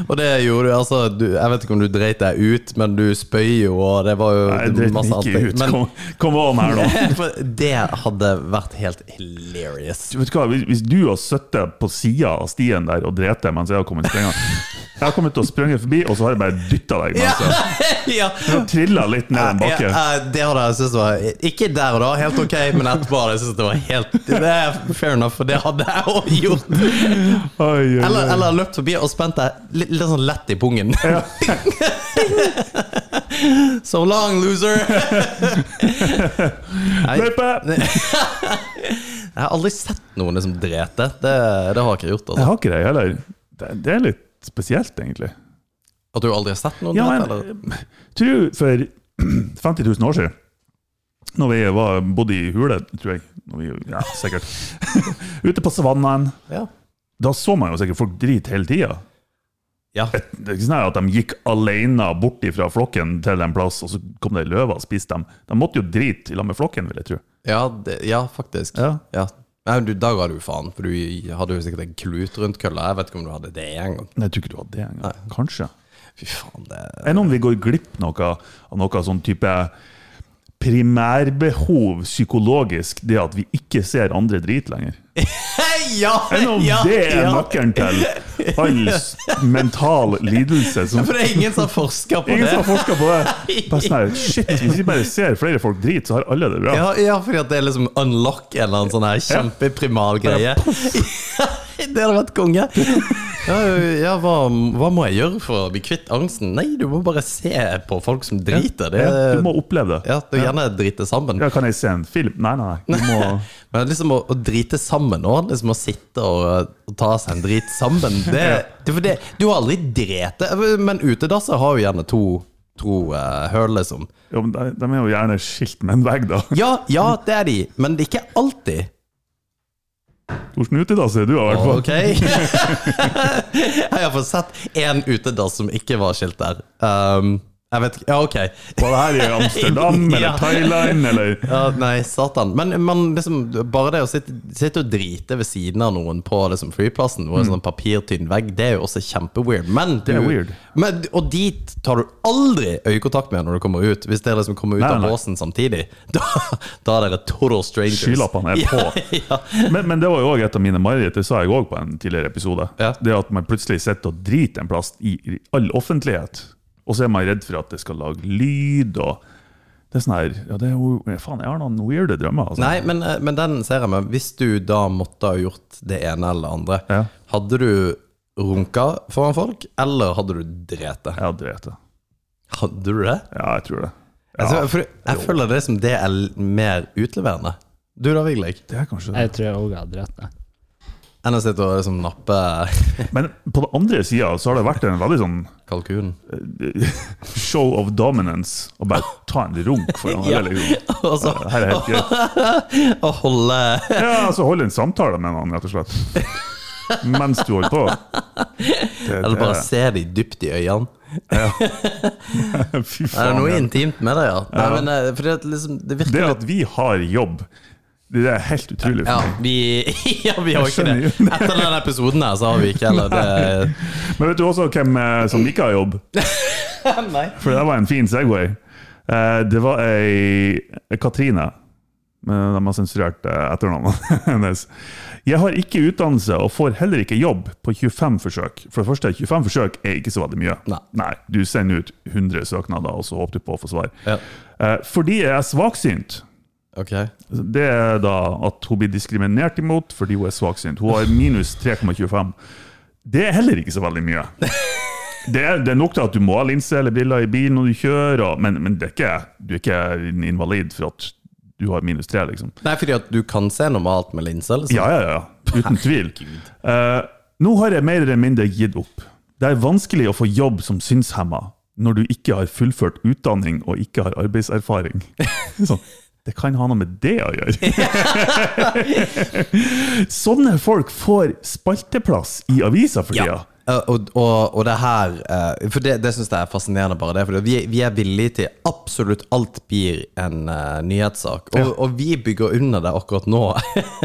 Speaker 6: og [laughs] det gjorde du, altså du, Jeg vet ikke om du dreit deg ut, men du spøy jo, og det var jo
Speaker 7: Nei, jeg dreit
Speaker 6: masse
Speaker 7: meg ikke
Speaker 6: annet.
Speaker 7: ut.
Speaker 6: Men-
Speaker 7: Kom, kom
Speaker 6: [laughs]
Speaker 7: on her, nå.
Speaker 6: For det hadde vært helt hilarious. [laughs]
Speaker 7: Du Vet hva, hvis- Hvis du har sittet på sida av stien der og drept deg mens jeg har kommet sprengende Jeg har kommet til å sprenge forbi, og så har jeg bare dytta deg.
Speaker 6: Ja!
Speaker 7: Ja.
Speaker 6: ja.
Speaker 7: Trilla litt ned en
Speaker 6: Ja,
Speaker 7: bakke.
Speaker 6: eh, det hadde jeg syntes var Ikke der og da, helt ok, men etterpå hadde jeg syntes det var helt Det er fair enough, for det hadde jeg også gjort.
Speaker 7: Oi, oi, oi.
Speaker 6: Eller, eller løpt forbi og spent deg litt, litt sånn lett i pungen. [laughs] so long,
Speaker 7: [laughs]
Speaker 6: loser! Nei, [laughs] jeg
Speaker 7: Løype!
Speaker 6: har aldri sett noen liksom drete. Det, det har jeg ikke gjort.
Speaker 7: Jeg
Speaker 6: Altså.
Speaker 7: har ikke det heller. Det, det er litt spesielt, egentlig.
Speaker 6: At du aldri har sett noen
Speaker 7: Ja,
Speaker 6: drete? eller?
Speaker 7: men tror for [clears throat] 50 000 år siden, når vi var, bodde i hule, tror jeg når vi, Ja, sikkert. [laughs] Ute på savannen.
Speaker 6: Ja.
Speaker 7: Da så man jo sikkert folk drit hele tida.
Speaker 6: ja.
Speaker 7: et, det er ikke sånn her at de gikk alene bort fra flokken til en plass, og så kom det ei løve og spiste dem. De måtte jo drite i lag med flokken, vil jeg tro.
Speaker 6: Ja, det, ja faktisk.
Speaker 7: Ja.
Speaker 6: Nei, du, da ga du faen, for du hadde jo sikkert en klut rundt kølla. Jeg vet ikke om du hadde det engang.
Speaker 7: Nei, jeg tror ikke du hadde det engang. Kanskje.
Speaker 6: Fy faen, det
Speaker 7: Er det noen vi går glipp noe, av noe sånn type primærbehov psykologisk, det at vi ikke ser andre drit lenger?
Speaker 6: [laughs] Ja!
Speaker 7: Er det noen
Speaker 6: ja,
Speaker 7: det er
Speaker 6: ja.
Speaker 7: nøkkelen til all s- mental lidelse? Som,
Speaker 6: For det er ingen som forsker på
Speaker 7: ingen
Speaker 6: det.
Speaker 7: som har forska på
Speaker 6: [laughs]
Speaker 7: det! Bare sånn her, shit, Hvis vi bare ser flere folk drit, så har alle det bra.
Speaker 6: Ja, ja, fordi at det er liksom unlock en eller annen sånn her kjempeprimal greie. [laughs] Det hadde vært konge. Ja, ja hva, hva må jeg gjøre for å bli kvitt angsten? Nei, du må bare se på folk som driter. Det,
Speaker 7: Ja, du må oppleve det.
Speaker 6: ja, du gjerne drite sammen.
Speaker 7: Ja, kan jeg se en film? Nei, nei, nei. Du
Speaker 6: [laughs]
Speaker 7: må
Speaker 6: Men liksom å, å drite sammen òg, liksom å sitte og, og ta seg en drit sammen det, det, for det, Du har aldri drete, men utedasser har jo gjerne to, to eh, høl, liksom.
Speaker 7: jo, men de, de er jo gjerne skilt med en vegg, da.
Speaker 6: Ja, ja, det er de, men det er ikke alltid.
Speaker 7: Hvordan utedass er du, i hvert fall?
Speaker 6: Ok? [laughs] Jeg har iallfall sett én utedass som ikke var skilt der. Um, jeg vet ikke Ja, ok. [laughs]
Speaker 7: Var det her i Amsterdam eller
Speaker 6: Ja.
Speaker 7: Thailand,
Speaker 6: [laughs]
Speaker 7: eller
Speaker 6: Ja, nei, satan. Men, men liksom, bare det å sitte, sitte og drite ved siden av noen på liksom, flyplassen, hvor det er sånn papirtynn vegg, det er jo også kjempeweird. Men du,
Speaker 7: Mm. er weird.
Speaker 6: Men, og dit tar du aldri øyekontakt med når du kommer ut. Hvis dere liksom kommer ut
Speaker 7: Nei,
Speaker 6: av
Speaker 7: nei.
Speaker 6: båsen samtidig, [laughs] da, da er dere total strangers.
Speaker 7: Skylappene er på.
Speaker 6: [laughs] Ja, ja.
Speaker 7: Men, men det var jo òg et av mine mareritt, det sa jeg òg på en tidligere episode.
Speaker 6: Ja.
Speaker 7: Det at man plutselig sitter og driter en plass i i all offentlighet, og så er man redd for at det skal lage lyd og Det er sånn her ja, det er, jo- Faen, jeg har noen weirde drømmer. Altså.
Speaker 6: Nei, men, eh, men den ser jeg med. Hvis du da måtte ha gjort det ene eller det andre,
Speaker 7: Ja.
Speaker 6: hadde du runka foran folk, eller hadde du drept det?
Speaker 7: Jeg hadde drept det.
Speaker 6: Hadde du det?
Speaker 7: Ja, jeg tror det.
Speaker 6: Altså,
Speaker 7: Ja,
Speaker 6: for jeg føler det som det er l- mer utleverende. Du da, Vigleik?
Speaker 7: det er kanskje det.
Speaker 8: Jeg tror jeg òg hadde drept deg.
Speaker 6: Enn å sitte og liksom nappe
Speaker 7: Men på den andre sida så har det vært en veldig sånn [laughs]
Speaker 6: kalkunen.
Speaker 7: show of dominance å
Speaker 6: [laughs]
Speaker 7: bare ta en runk foran
Speaker 6: Ja.
Speaker 7: alle. Liksom.
Speaker 6: Og så
Speaker 7: Det her er helt greit.
Speaker 6: å holde
Speaker 7: Ja, altså holde en samtale med noen, rett og slett. Mens du holder på. Det,
Speaker 6: Eller bare
Speaker 7: det-
Speaker 6: se de dypt i øynene.
Speaker 7: [laughs] Fy
Speaker 6: Er det
Speaker 7: faen.
Speaker 6: noe
Speaker 7: ja.
Speaker 6: intimt med det, ja? Nei, men eh, fordi at liksom, det virker
Speaker 7: Det at vi har jobb, det er helt utrolig
Speaker 6: Ja,
Speaker 7: for meg.
Speaker 6: vi, [laughs] ja, vi har
Speaker 7: Jeg
Speaker 6: ikke det.
Speaker 7: skjønner jo.
Speaker 6: Etter den episoden her, så har vi ikke heller det.
Speaker 7: Men vet du også hvem eh, som ikke har jobb?
Speaker 6: Nei.
Speaker 7: For det var en fin Segway. Eh, Det var ei Katrine. Men de har sensurert eh, etternavnet [laughs] hennes. Jeg har ikke utdannelse og får heller ikke jobb på 25 forsøk. For det første, 25 forsøk er ikke så veldig mye.
Speaker 6: Nei.
Speaker 7: Du sender ut 100 søknader, og så håper du på å få svar.
Speaker 6: Ja.
Speaker 7: Eh, Fordi jeg er svaksynt.
Speaker 6: Ok.
Speaker 7: Det er da at hun blir diskriminert imot fordi hun er svaksynt. Hun har minus 3,25. Det er heller ikke så veldig mye. Det er, det er nok til at du må ha linse eller briller i bilen når du kjører, og, men, men det er ikke, du er ikke en invalid for at du har minus 3, liksom.
Speaker 6: Nei, fordi at du kan se normalt med linse, liksom.
Speaker 7: Ja, ja, ja. Uten tvil. Eh, nå har jeg mer eller mindre gitt opp. Det er vanskelig å få jobb som synshemma når du ikke har fullført utdanning og ikke har arbeidserfaring. Sånn. Det kan ha noe med det å gjøre. [laughs] Sånne folk får spalteplass i avisa for tida.
Speaker 6: Eh, Og, og, og det her eh, For det, det syns jeg er fascinerende, bare det. For vi, vi er villige til absolutt alt blir en eh, nyhetssak. Og, og vi bygger under det akkurat nå.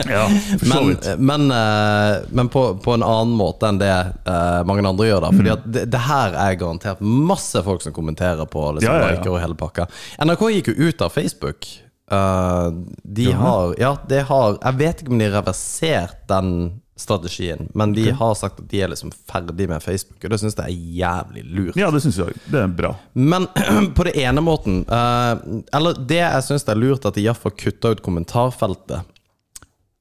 Speaker 7: Ja, for så
Speaker 6: men
Speaker 7: vidt.
Speaker 6: men, eh, men på, på en annen måte enn det eh, mange andre gjør. da
Speaker 7: Mm.
Speaker 6: Fordi at det, det her er garantert masse folk som kommenterer på liksom,
Speaker 7: Ja, ja, ja.
Speaker 6: liker og hele pakka. NRK gikk jo ut av Facebook. Eh, de har Ja, de har Jeg vet ikke om de har reversert den strategien, men de har sagt at de er liksom ferdig med Facebook, og det syns jeg er jævlig lurt.
Speaker 7: Ja, det syns jeg. Det er bra.
Speaker 6: Men [clears throat] på det ene måten eh, Eller det jeg syns det er lurt, at de iallfall kutter ut kommentarfeltet.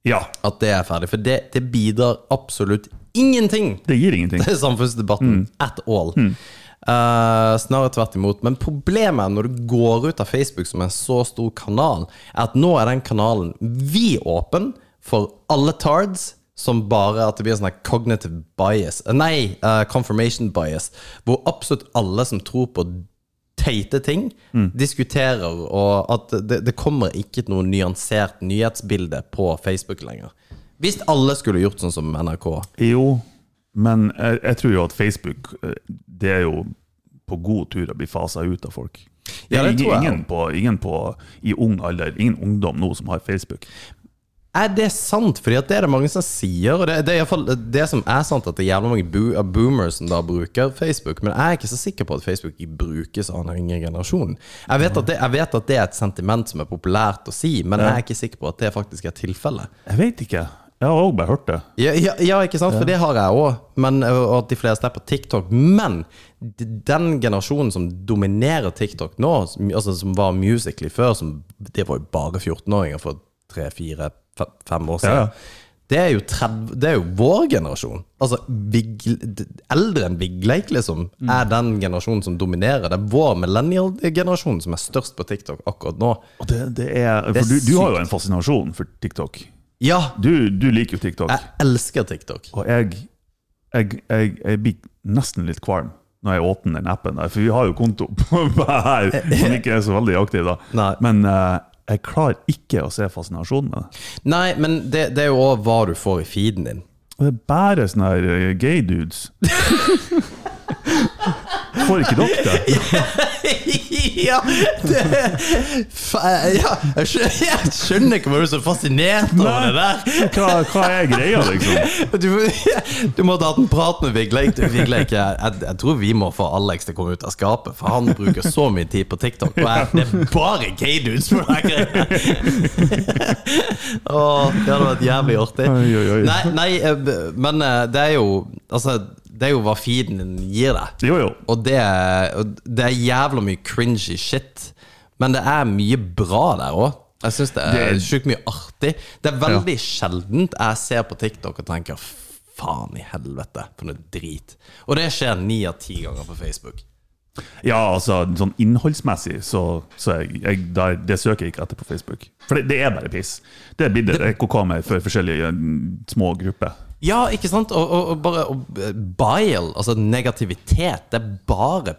Speaker 7: Ja,
Speaker 6: At det er ferdig. For det, det bidrar absolutt ingenting
Speaker 7: det gir ingenting.
Speaker 6: til samfunnsdebatten at all. Eh, snarere tvert imot. Men problemet når du går ut av Facebook som en så stor kanal, er at nå er den kanalen vidåpen for alle tards som bare at det blir sånn her cognitive bias eh, Nei, eh, confirmation bias. Hvor absolutt alle som tror på teite ting, diskuterer, og at det, det kommer ikke noe nyansert nyhetsbilde på Facebook lenger. Hvis alle skulle gjort sånn som NRK
Speaker 7: Jo, men jeg, jeg tror jo at Facebook eh, Det er jo på god tur å bli fasa ut av folk. Det
Speaker 6: Ja,
Speaker 7: er
Speaker 6: det tror jeg.
Speaker 7: ingen, på, ingen på, i ung alder, ingen ungdom nå som har Facebook.
Speaker 6: Er det sant? Fordi at det er det mange som sier. Og det, det er iallfall det som er sant, at det er jævla mange bo av boomers som da bruker Facebook. Men jeg er ikke så sikker på at Facebook ikke brukes av den yngre generasjonen. Jeg vet, at det, jeg vet at det er et sentiment som er populært å si, men jeg er ikke sikker på at det faktisk er tilfellet.
Speaker 7: Jeg vet ikke. Jeg har òg bare hørt det.
Speaker 6: Ja, ja, ja, ikke sant? For det har jeg òg, og at de fleste er på TikTok. Men d- den generasjonen som dominerer TikTok nå, som, altså som var Musically før, som, det var jo bare 14-åringer for tre, fire, fem, fem år siden.
Speaker 7: Ja, ja.
Speaker 6: Det er, jo 30, det er jo vår generasjon. Altså, Vigle, d- Eldre enn Vigleik, liksom,
Speaker 7: Mm.
Speaker 6: er den generasjonen som dominerer. Det er vår millennial-generasjon som er størst på TikTok akkurat nå.
Speaker 7: Og det, det er,
Speaker 6: Det er
Speaker 7: for du, du har
Speaker 6: sykt.
Speaker 7: jo en fascinasjon for TikTok.
Speaker 6: Ja,
Speaker 7: Du, du liker jo TikTok.
Speaker 6: jeg elsker TikTok.
Speaker 7: Og jeg, jeg, jeg, jeg blir nesten litt kvalm når jeg åpner den appen, der, for vi har jo konto [laughs] på her som ikke er så veldig aktiv, da.
Speaker 6: Nei.
Speaker 7: Men eh, jeg klarer ikke å se fascinasjonen med det.
Speaker 6: Nei, men det, det er jo òg hva du får i feeden din.
Speaker 7: Og det er bare sånne her eh, gay dudes. Får ikke dere det?
Speaker 6: [laughs] ja, det, fa, ja jeg, skjønner, jeg skjønner ikke hva du er så fascinert over det der.
Speaker 7: Hva, hva er greia, liksom?
Speaker 6: Du, du måtte hatt en prat med Vigleik. Du, Vigleik jeg, jeg, jeg tror vi må få Alex til å komme ut av skapet, for han bruker så mye tid på TikTok. Og jeg, det er bare gay dudes på den greia. Åh, det hadde vært jævlig artig.
Speaker 7: Oi, oi, oi.
Speaker 6: Nei, nei, eh, b- men eh, det er jo Altså, det er jo hva feeden din gir deg.
Speaker 7: Jo, jo.
Speaker 6: Og det, er- og det er jævla mye cringy shit. Men det er mye bra der òg. Jeg syns det er
Speaker 7: Det-
Speaker 6: sjukt mye artig. Det er veldig sjeldent jeg ser på TikTok og tenker faen i helvete, for noe drit. Og det skjer ni av ti ganger på Facebook.
Speaker 7: Ja, altså sånn innholdsmessig, så, så jeg, jeg, der, det søker jeg ikke etter på Facebook. For det, det er bare piss. Det er blitt et ekkokammer for forskjellige mm, små grupper.
Speaker 6: Ja, ikke sant? Og, og, og bare og eh, bile, altså negativitet, det er bare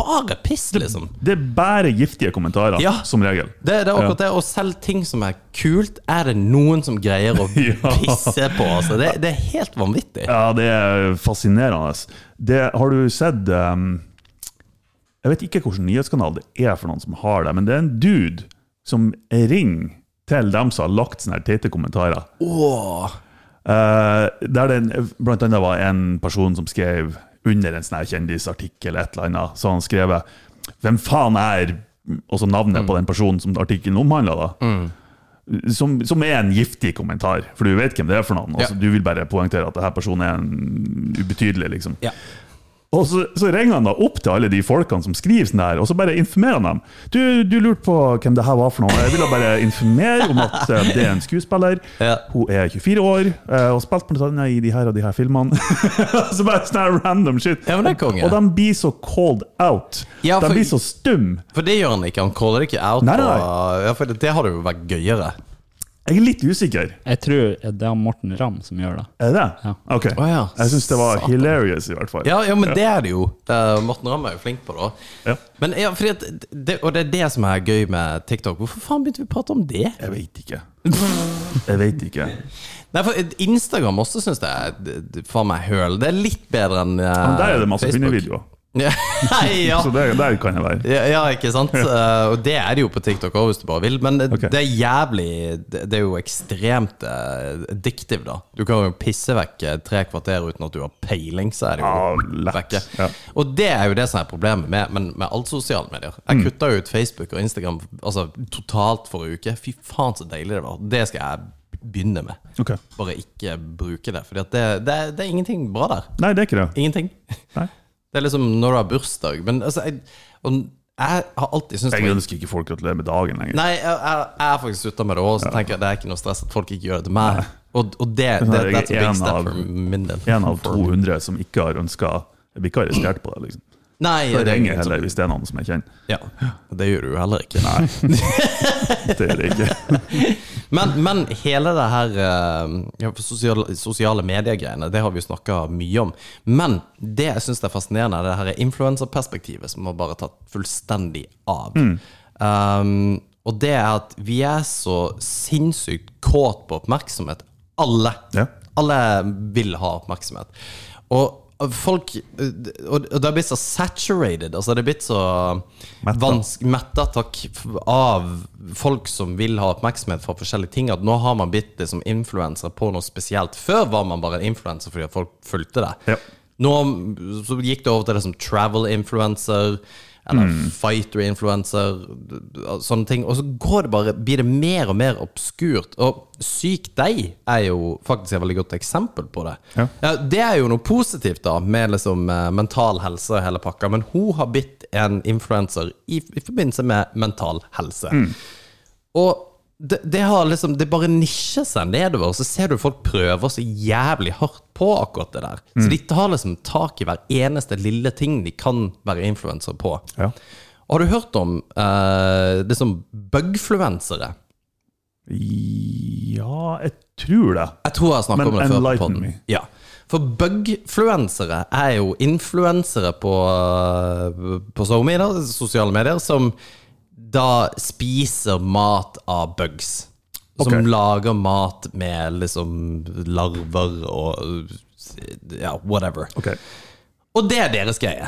Speaker 6: bare piss, liksom.
Speaker 7: Det er bare giftige kommentarer,
Speaker 6: Ja.
Speaker 7: som regel.
Speaker 6: Det, det er akkurat det. Og selv ting som er kult, er det noen som greier [laughs] å
Speaker 7: Ja.
Speaker 6: pisse på. Altså. Det, det er helt vanvittig.
Speaker 7: Ja, det er fascinerende. Det, har du sett ehm, Jeg vet ikke hvilken nyhetskanal det er for noen som har det, men det er en dude som ringer til dem som har lagt sånne her teite kommentarer.
Speaker 6: Åh.
Speaker 7: Eh, der det en- blant annet var en person som skrev under en sånn her kjendisartikkel et eller annet, så han skrev 'Hvem faen er' Og så navnet på den personen som artikkelen omhandla. da. Som, som er en giftig kommentar, for du vet hvem det er for noen. og så
Speaker 6: Ja.
Speaker 7: Du vil bare poengtere at denne personen er en ubetydelig, liksom.
Speaker 6: Ja.
Speaker 7: Og så, så ringer han da opp til alle de folkene som skriver sånn her, og så bare informerer han dem. Du, du lurte på hvem det her var for noe. Jeg ville bare informere om at eh, det er en skuespiller.
Speaker 6: Ja.
Speaker 7: Hun er 24 år eh, og spilte blant annet i de her og de her filmene. [laughs] så bare sånn her random shit.
Speaker 6: Ja, men det er konge.
Speaker 7: Og de blir så called out.
Speaker 6: Ja, for-
Speaker 7: De blir så stum.
Speaker 6: For det gjør han ikke. Han caller ikke out.
Speaker 7: Nei, nei, nei.
Speaker 6: på- Ja, for det, det hadde jo vært gøyere.
Speaker 7: Jeg er litt usikker.
Speaker 8: Jeg tror det er Morten Ramm som gjør det.
Speaker 7: Er det det?
Speaker 8: Ja.
Speaker 7: Ok.
Speaker 6: Å, ja.
Speaker 7: Jeg syns det var
Speaker 6: Satan.
Speaker 7: hilarious, i hvert fall.
Speaker 6: Ja, ja men det er det jo. Eh, Morten Ramm er jo flink på det. også.
Speaker 7: Ja.
Speaker 6: Men ja, fordi at det, og det er det som er gøy med TikTok. Hvorfor faen begynte vi å prate om det?
Speaker 7: Jeg veit
Speaker 6: [laughs]
Speaker 7: ikke. Jeg veit ikke.
Speaker 6: Nei, for Instagram også syns jeg er d- d- faen meg høl. Det er litt bedre enn eh,
Speaker 7: Men der er det masse
Speaker 6: Facebook.
Speaker 7: hundevideoer.
Speaker 6: [laughs] Ja, ja.
Speaker 7: [laughs] Så der, der kan jeg være.
Speaker 6: Ja, ja, ikke sant? Eh, og det er det jo på TikTok òg, hvis du bare vil. Men det,
Speaker 7: Ok.
Speaker 6: det er jævlig Det det er jo ekstremt uh, addictive, da. Du kan jo pisse vekk eh, tre kvarter uten at du har peiling, så er det
Speaker 7: Ja,
Speaker 6: jo
Speaker 7: lett.
Speaker 6: vekke.
Speaker 7: Ja.
Speaker 6: Og det er jo det som er problemet med, men med alt sosiale medier.
Speaker 7: Mm.
Speaker 6: Jeg kutta jo ut Facebook og Instagram altså, totalt forrige uke. Fy faen, så deilig det var. Det skal jeg begynne med.
Speaker 7: Ok.
Speaker 6: Bare ikke bruke det. For det, det, er- det er ingenting bra der.
Speaker 7: Nei, det er ikke det.
Speaker 6: Ingenting.
Speaker 7: Nei.
Speaker 6: [laughs] Det er liksom når du har bursdag. Men altså, jeg, og jeg har alltid syntes det
Speaker 7: Jeg
Speaker 6: var-
Speaker 7: ønsker ikke folk gratulerer med dagen lenger.
Speaker 6: Nei, jeg, jeg, jeg er faktisk ute med det òg, så tenker jeg det er ikke noe stress at folk ikke gjør det til meg. Og, og det, det,
Speaker 7: Nei, jeg er
Speaker 6: that's a big
Speaker 7: en
Speaker 6: step
Speaker 7: av-
Speaker 6: for min del.
Speaker 7: En av 200 som ikke har ønska Jeg blir ikke arrestert på det. liksom.
Speaker 6: Nei,
Speaker 7: Jeg
Speaker 6: det er
Speaker 7: ringer
Speaker 6: ingen som-
Speaker 7: heller hvis det er noen som jeg kjenner.
Speaker 6: Ja, det gjør du jo heller ikke.
Speaker 7: Det gjør jeg ikke. [laughs]
Speaker 6: Men, men hele det her eh, ja, for sosiale, sosiale medier-greiene, det har vi jo snakka mye om. Men det jeg syns er fascinerende, er det her influenserperspektivet som har bare tatt fullstendig av.
Speaker 7: Mm.
Speaker 6: Um, og det er at vi er så sinnssykt kåt på oppmerksomhet. Alle.
Speaker 7: Ja.
Speaker 6: Alle vil ha oppmerksomhet. Og folk eh, Og det har blitt så saturated. Altså det har blitt så
Speaker 7: Mettet.
Speaker 6: vanskelig ganske metta takk av folk som vil ha oppmerksomhet fra forskjellige ting. At nå har man blitt liksom influenser på noe spesielt. Før var man bare en influenser fordi at folk fulgte det.
Speaker 7: Ja.
Speaker 6: Nå så gikk det over til det som travel influencer eller fighter influencer, sånne ting. Og så går det bare, blir det mer og mer obskurt. Og Syk deg er jo faktisk et veldig godt eksempel på det.
Speaker 7: Ja.
Speaker 6: Ja, det er jo noe positivt da, med liksom eh, mental helse og hele pakka, men hun har blitt en influenser i, i forbindelse med mental helse. Og det, det har liksom Det bare nisjer seg nedover, og så ser du folk prøver så jævlig hardt på akkurat det der. Så de tar liksom tak i hver eneste lille ting de kan være influensere på.
Speaker 7: Ja.
Speaker 6: Og har du hørt om eh, det som bugfluensere?
Speaker 7: ja, jeg tror det.
Speaker 6: Jeg tror jeg snakket
Speaker 7: Men
Speaker 6: om det før. på
Speaker 7: enlighten
Speaker 6: podden.
Speaker 7: me.
Speaker 6: Ja. For bugfluensere er jo influensere på, eh, på SoMe, da, sosiale medier, som da spiser mat av bugs. Som
Speaker 7: Ok.
Speaker 6: lager mat med liksom larver og ja, whatever.
Speaker 7: Ok.
Speaker 6: Og det er deres greie.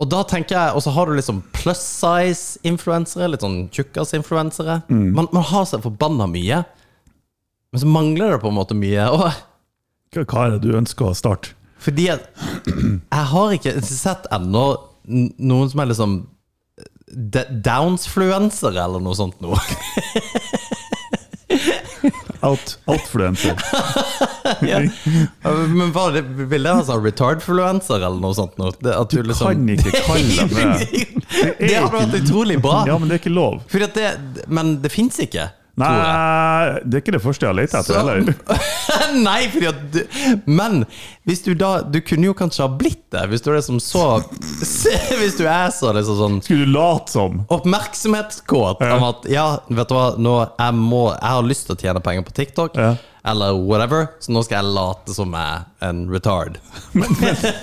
Speaker 6: Og da tenker jeg, og så har du liksom plus size-influensere, litt sånn tjukkas-influensere.
Speaker 7: Mm.
Speaker 6: Man, man har så forbanna mye, men så mangler det på en måte mye. Og [laughs]
Speaker 7: Hva hva er det du ønsker å starte?
Speaker 6: fordi at jeg har ikke sett ennå n- noen som er liksom d- Downsfluensere eller noe sånt noe. [laughs]
Speaker 7: Out, outfluencer.
Speaker 6: Men hva er det, vil det være sånn retardfluencer eller noe sånt noe? Det- At [laughs]
Speaker 7: Du kan ikke kalle det Det, er
Speaker 6: Det hadde
Speaker 7: ikke-
Speaker 6: vært utrolig bra.
Speaker 7: Ja, men det er ikke lov.
Speaker 6: Fordi at det, men det fins ikke.
Speaker 7: Nei,
Speaker 6: tror jeg.
Speaker 7: det er ikke det første jeg har lett etter
Speaker 6: Så-
Speaker 7: heller.
Speaker 6: [laughs] Nei, fordi at du, Men hvis du da Du kunne jo kanskje ha blitt det, hvis du er liksom så [laughs] Hvis du er så liksom sånn
Speaker 7: Skulle du late som?
Speaker 6: oppmerksomhetskåt om at ja, vet du hva, nå jeg, må, jeg har lyst til å tjene penger på TikTok,
Speaker 7: Ja.
Speaker 6: eller whatever, så nå skal jeg late som jeg er en
Speaker 7: [laughs]
Speaker 6: retard. [laughs]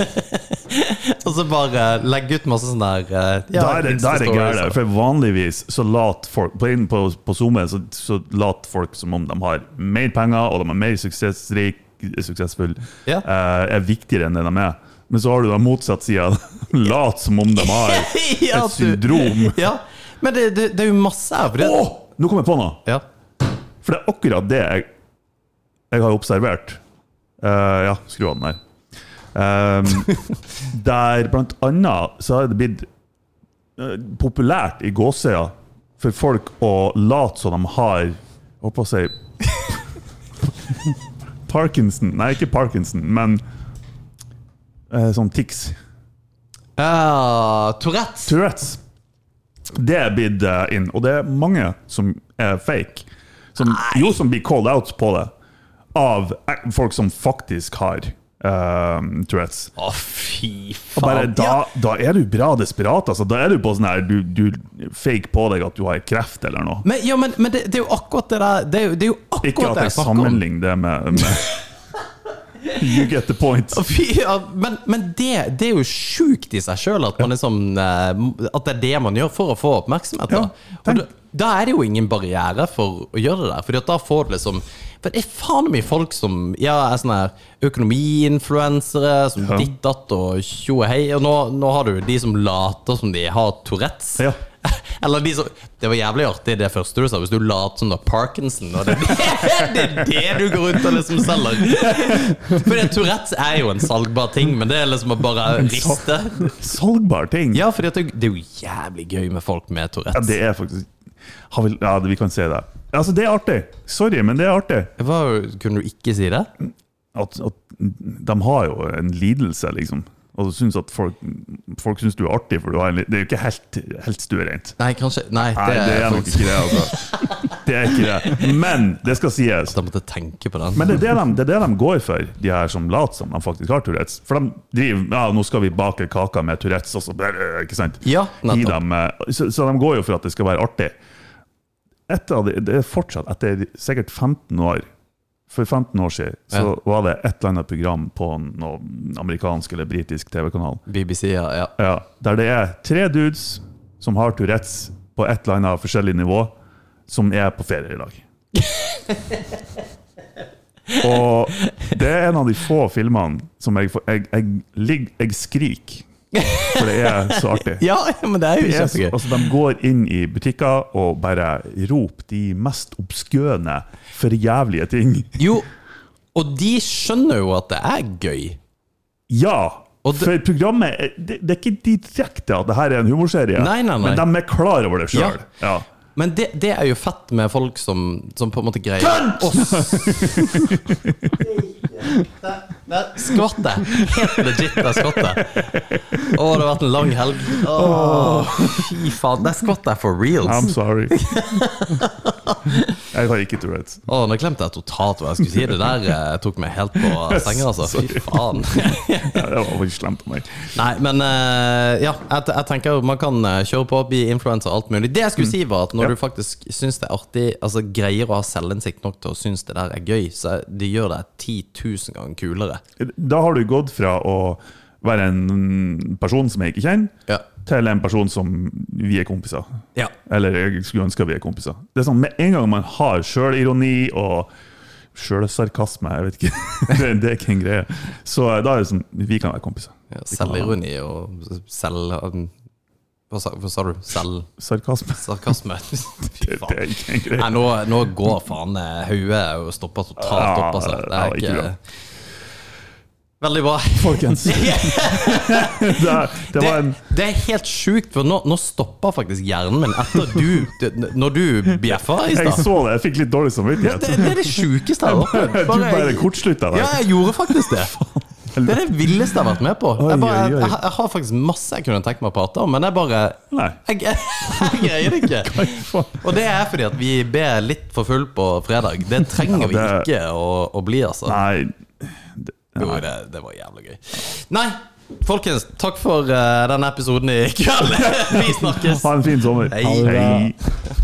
Speaker 6: og så bare legge ut masse sånn der eh, ja,
Speaker 7: Da er det, da er det
Speaker 6: Insta-stories
Speaker 7: gærent.
Speaker 6: og-
Speaker 7: For vanligvis så later folk på, inn på, på Zoom så, så later folk som om de har mer penger, og de er mer suksessrik, suksessfulle,
Speaker 6: Ja.
Speaker 7: eh, er viktigere enn det de er. Men så har du da motsatt side. [laughs] Lat som om de
Speaker 6: [laughs]
Speaker 7: har
Speaker 6: Ja,
Speaker 7: et
Speaker 6: du-
Speaker 7: syndrom.
Speaker 6: [laughs] Ja, men det, det, det er jo masse her. for
Speaker 7: Å!
Speaker 6: det-
Speaker 7: Nå kom jeg på noe!
Speaker 6: Ja.
Speaker 7: For det er akkurat det jeg, jeg har observert. Eh, ja, skru av den der. Ehm, der blant annet så har det blitt eh, populært i gåsøya for folk å late som de har jeg Håper å si Parkinson. Nei, ikke Parkinson, men eh, sånn tics.
Speaker 6: Eh, Tourettes.
Speaker 7: Tourettes. Det er blitt eh, inn, og det er mange som er fake. Som, jo, som blir called out på det av eh, folk som faktisk har eh, Tourettes.
Speaker 6: Å, fy faen.
Speaker 7: Og bare, da, da er du bra desperat, altså. Da er du på sånn her du, du fake på deg at du har kreft eller noe.
Speaker 6: Men, ja, men, men det, det er jo akkurat det der Det er jo, det er jo akkurat
Speaker 7: Ikke
Speaker 6: det
Speaker 7: at jeg
Speaker 6: jeg snakker om.
Speaker 7: sammenligner det med, med [laughs] You get the point.
Speaker 6: Å, Fy, ja, men men det, det er jo sjukt i seg sjøl at, man liksom, eh, at det er det man gjør for å få oppmerksomhet.
Speaker 7: Ja,
Speaker 6: Da. Og da, da er det jo ingen barriere for å gjøre det der. Fordi at da får du liksom For det er faen mye folk som ja, er sånne her økonomiinfluensere, som
Speaker 7: Ja.
Speaker 6: ditt datt og tjo og hei. Og nå, nå har du de som later som de har Tourettes.
Speaker 7: Ja.
Speaker 6: [laughs] Eller de som, Det var jævlig artig det første du sa, hvis du later som du har Parkinson. Og det, det [laughs] er det du går rundt og liksom selger. For det, Tourettes er jo en salgbar ting, men det er liksom å bare riste.
Speaker 7: Salgbar ting.
Speaker 6: Ja, for det, det er jo jævlig gøy med folk med
Speaker 7: Ja,
Speaker 6: Tourettes.
Speaker 7: det er faktisk har vi, Ja, vi kan si det. Altså, det er artig. Sorry, men det er artig.
Speaker 6: Hva, kunne du ikke si det?
Speaker 7: at, at de har jo en lidelse, liksom. Og synes at folk, folk syns du er artig, for du har en, li- det er jo ikke helt, helt stuereint.
Speaker 6: Nei, kanskje Nei, det,
Speaker 7: Nei, det er nok
Speaker 6: faktisk
Speaker 7: ikke det,
Speaker 6: [laughs]
Speaker 7: altså. Det er ikke det. Men det skal sies.
Speaker 6: Da måtte jeg tenke på den.
Speaker 7: Men det er det, de, det er det de går for, de her som later som de faktisk har Tourettes. For de driver ja, 'nå skal vi bake kaka med Tourettes', og så bare, ikke sant?
Speaker 6: Ja, nettopp.
Speaker 7: Gi dem, eh, så, så de går jo for at det skal være artig. Et av de, det er fortsatt, etter sikkert 15 år For 15 år siden så
Speaker 6: Ja.
Speaker 7: var det et eller annet program på noe amerikansk eller britisk TV-kanal
Speaker 6: BBC, ja. ja.
Speaker 7: ja, der det er tre dudes som har Tourettes på et eller annet forskjellig nivå, som er på ferie i
Speaker 6: [laughs]
Speaker 7: lag. Og det er en av de få filmene som jeg får Jeg, jeg, ligger- jeg skriker, for det er så artig.
Speaker 6: [laughs] Ja, men det er jo
Speaker 7: Det er så-
Speaker 6: kjempegøy.
Speaker 7: altså, de går inn i butikker og bare roper de mest obskøne, forjævlige ting.
Speaker 6: Jo, og de skjønner jo at det er gøy.
Speaker 7: Ja!
Speaker 6: Og det-
Speaker 7: for programmet er- det, det er ikke direkte at det her er en humorserie,
Speaker 6: Nei, nei, nei.
Speaker 7: men de er klar over det sjøl. Ja.
Speaker 6: Men det, det er jo fett med folk som, som på en måte greier Kønt! Skvatt jeg. Helt legit, jeg skvatt jeg. Å, det har vært en lang helg. Åh, fy faen. Der skvatt jeg for
Speaker 7: I'm
Speaker 6: reals.
Speaker 7: sorry. jeg har ikke Tourettes.
Speaker 6: Å, nå glemte jeg totalt hva jeg skulle si. Det der eh, tok meg helt på senga, altså. Fy faen.
Speaker 7: Ja, det var faktisk slemt av meg.
Speaker 6: Nei, men eh, ja, jeg, t- jeg tenker man kan eh, kjøre på, bli influenser og alt mulig. Det jeg
Speaker 7: Mm.
Speaker 6: skulle si, var at når du faktisk syns det er artig, altså greier å ha selvinnsikt nok til å synes det der er gøy, så det gjør deg 10 000 ganger kulere.
Speaker 7: Da har du gått fra å være en person som jeg ikke kjenner,
Speaker 6: Ja.
Speaker 7: til en person som vi er kompiser.
Speaker 6: Ja.
Speaker 7: Eller jeg skulle ønske vi er kompiser. Det er sånn, Med en gang man har sjølironi og sjølsarkasme, jeg vet ikke, [laughs] det, det er ikke en greie, så da er det sånn Vi kan være kompiser.
Speaker 6: Selvironi og selv... Hva sa, hva sa du? Selv...
Speaker 7: Sarkasme.
Speaker 6: Sarkasme? [laughs] Fy
Speaker 7: [laughs] Det, det er
Speaker 6: faen.
Speaker 7: ikke en
Speaker 6: Nei,
Speaker 7: greie.
Speaker 6: nå, nå går faen eh, hodet og stopper totalt opp, altså. Det er
Speaker 7: Ja, det var ikke bra.
Speaker 6: ikke Veldig bra.
Speaker 7: Folkens.
Speaker 6: [laughs]
Speaker 7: Det, det var en
Speaker 6: det, det er helt sjukt, for nå, nå stopper faktisk hjernen min etter du det- Når du bjeffa i
Speaker 7: Jeg
Speaker 6: stad.
Speaker 7: så det, jeg fikk litt dårlig samvittighet.
Speaker 6: Det, det er det sjukeste jeg har opplevd.
Speaker 7: [laughs] Du bare
Speaker 6: jeg-
Speaker 7: kortslutta
Speaker 6: Ja,
Speaker 7: der.
Speaker 6: jeg gjorde faktisk det. Det er det villeste jeg har vært med på.
Speaker 7: Oi,
Speaker 6: Jeg, bare,
Speaker 7: oi,
Speaker 6: jeg,
Speaker 7: oi.
Speaker 6: jeg, har faktisk masse jeg kunne tenkt meg å prate om, men jeg bare
Speaker 7: Nei.
Speaker 6: Jeg, jeg greier det ikke. Og det er fordi at vi ber litt for full på fredag. Det trenger vi
Speaker 7: Ja, det-
Speaker 6: ikke å, å bli, altså.
Speaker 7: Nei.
Speaker 6: Jo, det, det var jævlig gøy. Nei, folkens, takk for eh, denne episoden i kveld. [laughs] vi snakkes.
Speaker 7: Ha en fin sommer.
Speaker 6: Hei.
Speaker 7: Hei.